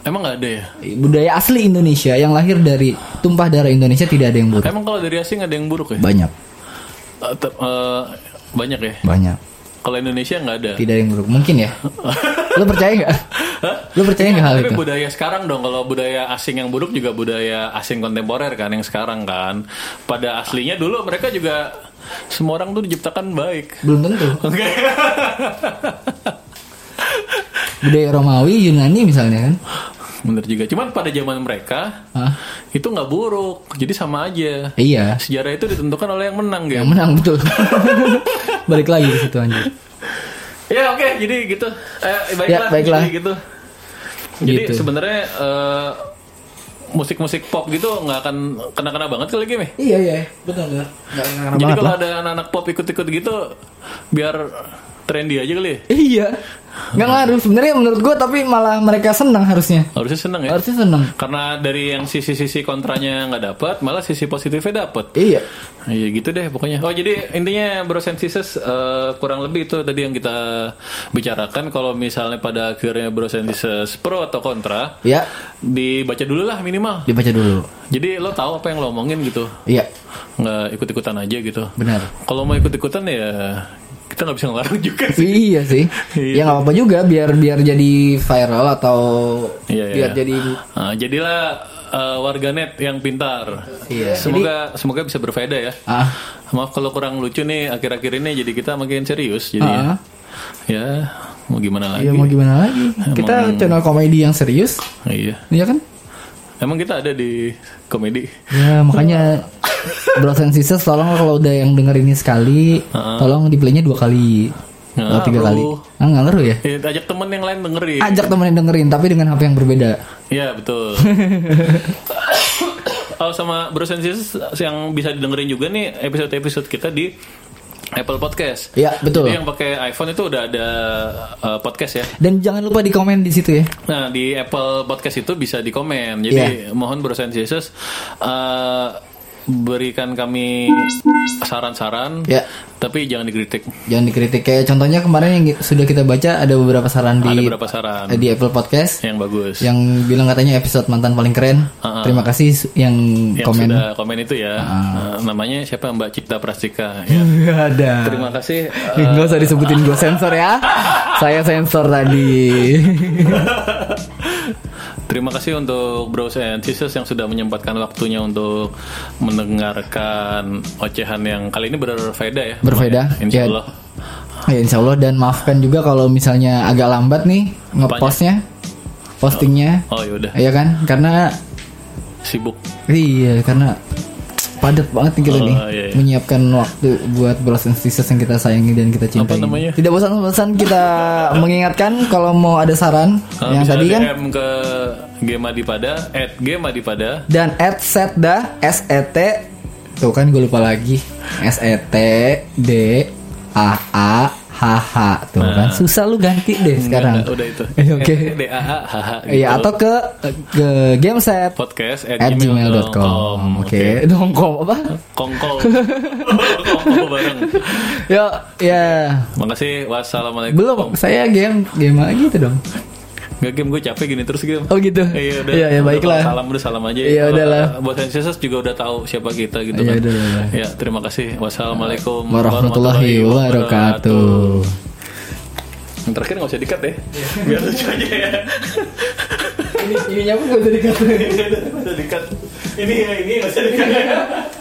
B: emang nggak ada ya?
A: budaya asli Indonesia yang lahir dari tumpah darah Indonesia tidak ada yang buruk.
B: Emang kalau dari asing ada yang buruk ya?
A: Banyak,
B: Eh, te- eh, banyak ya.
A: banyak.
B: Kalau Indonesia nggak ada. *laughs*
A: Tidak ada yang buruk. Mungkin ya. Lo percaya nggak? Lo percaya nggak hal
B: Tapi
A: itu?
B: budaya sekarang dong, kalau budaya asing yang buruk juga budaya asing kontemporer kan yang sekarang kan. Pada aslinya dulu mereka juga semua orang tuh diciptakan baik. *laughs*
A: Belum tentu.
B: Oke.
A: Budaya Romawi, Yunani misalnya kan.
B: Bener juga. Cuman pada zaman mereka
A: Hah?
B: itu nggak buruk. Jadi sama aja.
A: Iya.
B: Sejarah itu ditentukan oleh yang menang,
A: Yang
B: gitu. geng.
A: menang betul. *laughs* Balik lagi ke situ anjir.
B: Ya oke, jadi gitu. Eh, baiklah,
A: Ya, baiklah.
B: jadi gitu. Jadi
A: Gitu.
B: sebenarnya eh, musik-musik pop gitu nggak akan kena-kena banget kali game ya?
A: Iya iya, betul betul. Nggak ngarang
B: Jadi
A: banget
B: kalau
A: lah.
B: ada anak-anak pop ikut-ikut gitu biar trendy aja kali. ya?
A: Iya. Nggak ngaruh sebenarnya menurut gue tapi malah mereka senang harusnya.
B: Harusnya seneng ya.
A: Harusnya senang.
B: Karena dari yang sisi-sisi kontranya nggak dapat, malah sisi positifnya dapat.
A: Iya.
B: Iya gitu deh pokoknya. Oh jadi intinya brosensis eh, kurang lebih itu tadi yang kita bicarakan. Kalau misalnya pada akhirnya brosensis pro atau kontra,
A: Ya,
B: dibaca dulu lah minimal.
A: dibaca dulu.
B: Jadi lo tahu apa yang lo omongin gitu,
A: Iya,
B: nggak ikut-ikutan aja gitu.
A: benar.
B: Kalau mau ikut-ikutan ya kita nggak bisa ngelarang *laughs* juga sih.
A: *laughs* Iya sih.
B: Iya.
A: ya nggak apa-apa juga biar biar jadi viral atau
B: Iya,
A: biar
B: iya.
A: jadi
B: Nah, jadilah eh, warganet yang pintar.
A: Iya.
B: Semoga semoga bisa berfaedah ya.
A: ah
B: Maaf kalau kurang lucu nih akhir-akhir ini jadi kita makin serius jadi
A: Ah.
B: ya mau gimana lagi?
A: ya mau gimana lagi? Kita
B: Emang-
A: channel komedi yang serius,
B: Iya.
A: iya kan?
B: Emang kita ada di komedi.
A: Ya
B: *laughs*
A: makanya Bros and Sisters tolong kalau udah yang denger ini sekali
B: Heeh.
A: Tolong di playnya dua kali Atau tiga
B: Ngaruh. Iya.
A: kali Ah nggak ngaruh ya?
B: Ya, ajak temen yang lain dengerin.
A: Ajak temen yang dengerin tapi dengan HP yang berbeda
B: Iya betul. oh sama Bros and Sisters yang bisa didengerin juga nih episode-episode kita di Apple Podcast.
A: Iya, betul.
B: Jadi yang pakai iPhone itu udah ada uh, podcast ya.
A: Dan jangan lupa di komen di situ ya
B: Nah di Apple Podcast itu bisa dikomen.
A: Iya.
B: Jadi mohon Bros and Sisters eh, berikan kami saran-saran.
A: Iya.
B: Tapi jangan dikritik.
A: Jangan dikritik Kayak contohnya kemarin yang sudah kita baca ada beberapa saran di
B: Ada beberapa saran
A: eh, di Apple Podcast
B: yang bagus.
A: Yang bilang katanya episode mantan paling keren
B: Heeh.
A: Terima kasih su- yang,
B: Uh-uh. Yang
A: komen Ah.
B: sudah komen itu ya. Nah, namanya siapa Mbak Cipta Prastika. Ya.
A: Nggak ada
B: Terima kasih. eh,
A: *laughs* Nggak usah disebutin gue sensor ya Saya sensor tadi
B: Terima kasih untuk Bros and Sisters yang sudah menyempatkan waktunya untuk mendengarkan ocehan yang kali ini berfaedah ya.
A: Berfaedah,
B: Insya
A: ya.
B: Allah.
A: Ya insya Allah dan maafkan juga kalau misalnya agak lambat nih ngepostnya, postingnya,
B: Oh yaudah,
A: ya kan? Karena
B: sibuk.
A: iya karena padat banget nih kita
B: Oh,
A: nih
B: iya, iya.
A: menyiapkan waktu buat Bros and Sisters yang kita sayangi dan kita cintai.
B: namanya?
A: Tidak bosan-bosan
B: *laughs*
A: kita mengingatkan kalau mau ada saran
B: Eh,
A: yang
B: bisa
A: tadi kan
B: DM ke Gemadipada, at Gemadipada.
A: dan at setda s e t tuh kan gue lupa lagi s e t d a a h h tuh kan susah lu ganti deh sekarang.
B: Nah. Hmm, Udah, udah itu.
A: Eh, *laughs* Oke.
B: *laughs* DAA, haha, gitu.
A: Iya atau ke ke game set
B: podcast at,
A: at gmail.com oke dong kom apa *laughs*
B: Kongkol. Kongkol bareng.
A: ya ya
B: Makasih. Wassalamualaikum.
A: belum saya game game lagi gitu dong
B: Nggak game gue capek gini terus game.
A: oh gitu
B: Iya udah.
A: ya, ya
B: Udah,
A: baiklah
B: kalau Salam udah salam aja. ya.
A: Iya, udahlah.
B: Buat Sensesas juga udah tahu siapa kita gitu
A: Iya,
B: kan.
A: udah, udah, udah.
B: Ya terima kasih. Wassalamualaikum
A: warahmatullahi wabarakatuh
B: Yang terakhir nggak usah dikat ya. deh. Biar lucu aja ya.
A: ini ini nyambung gak jadi
B: Nggak usah dikat. Ini ya ini nggak usah dikat.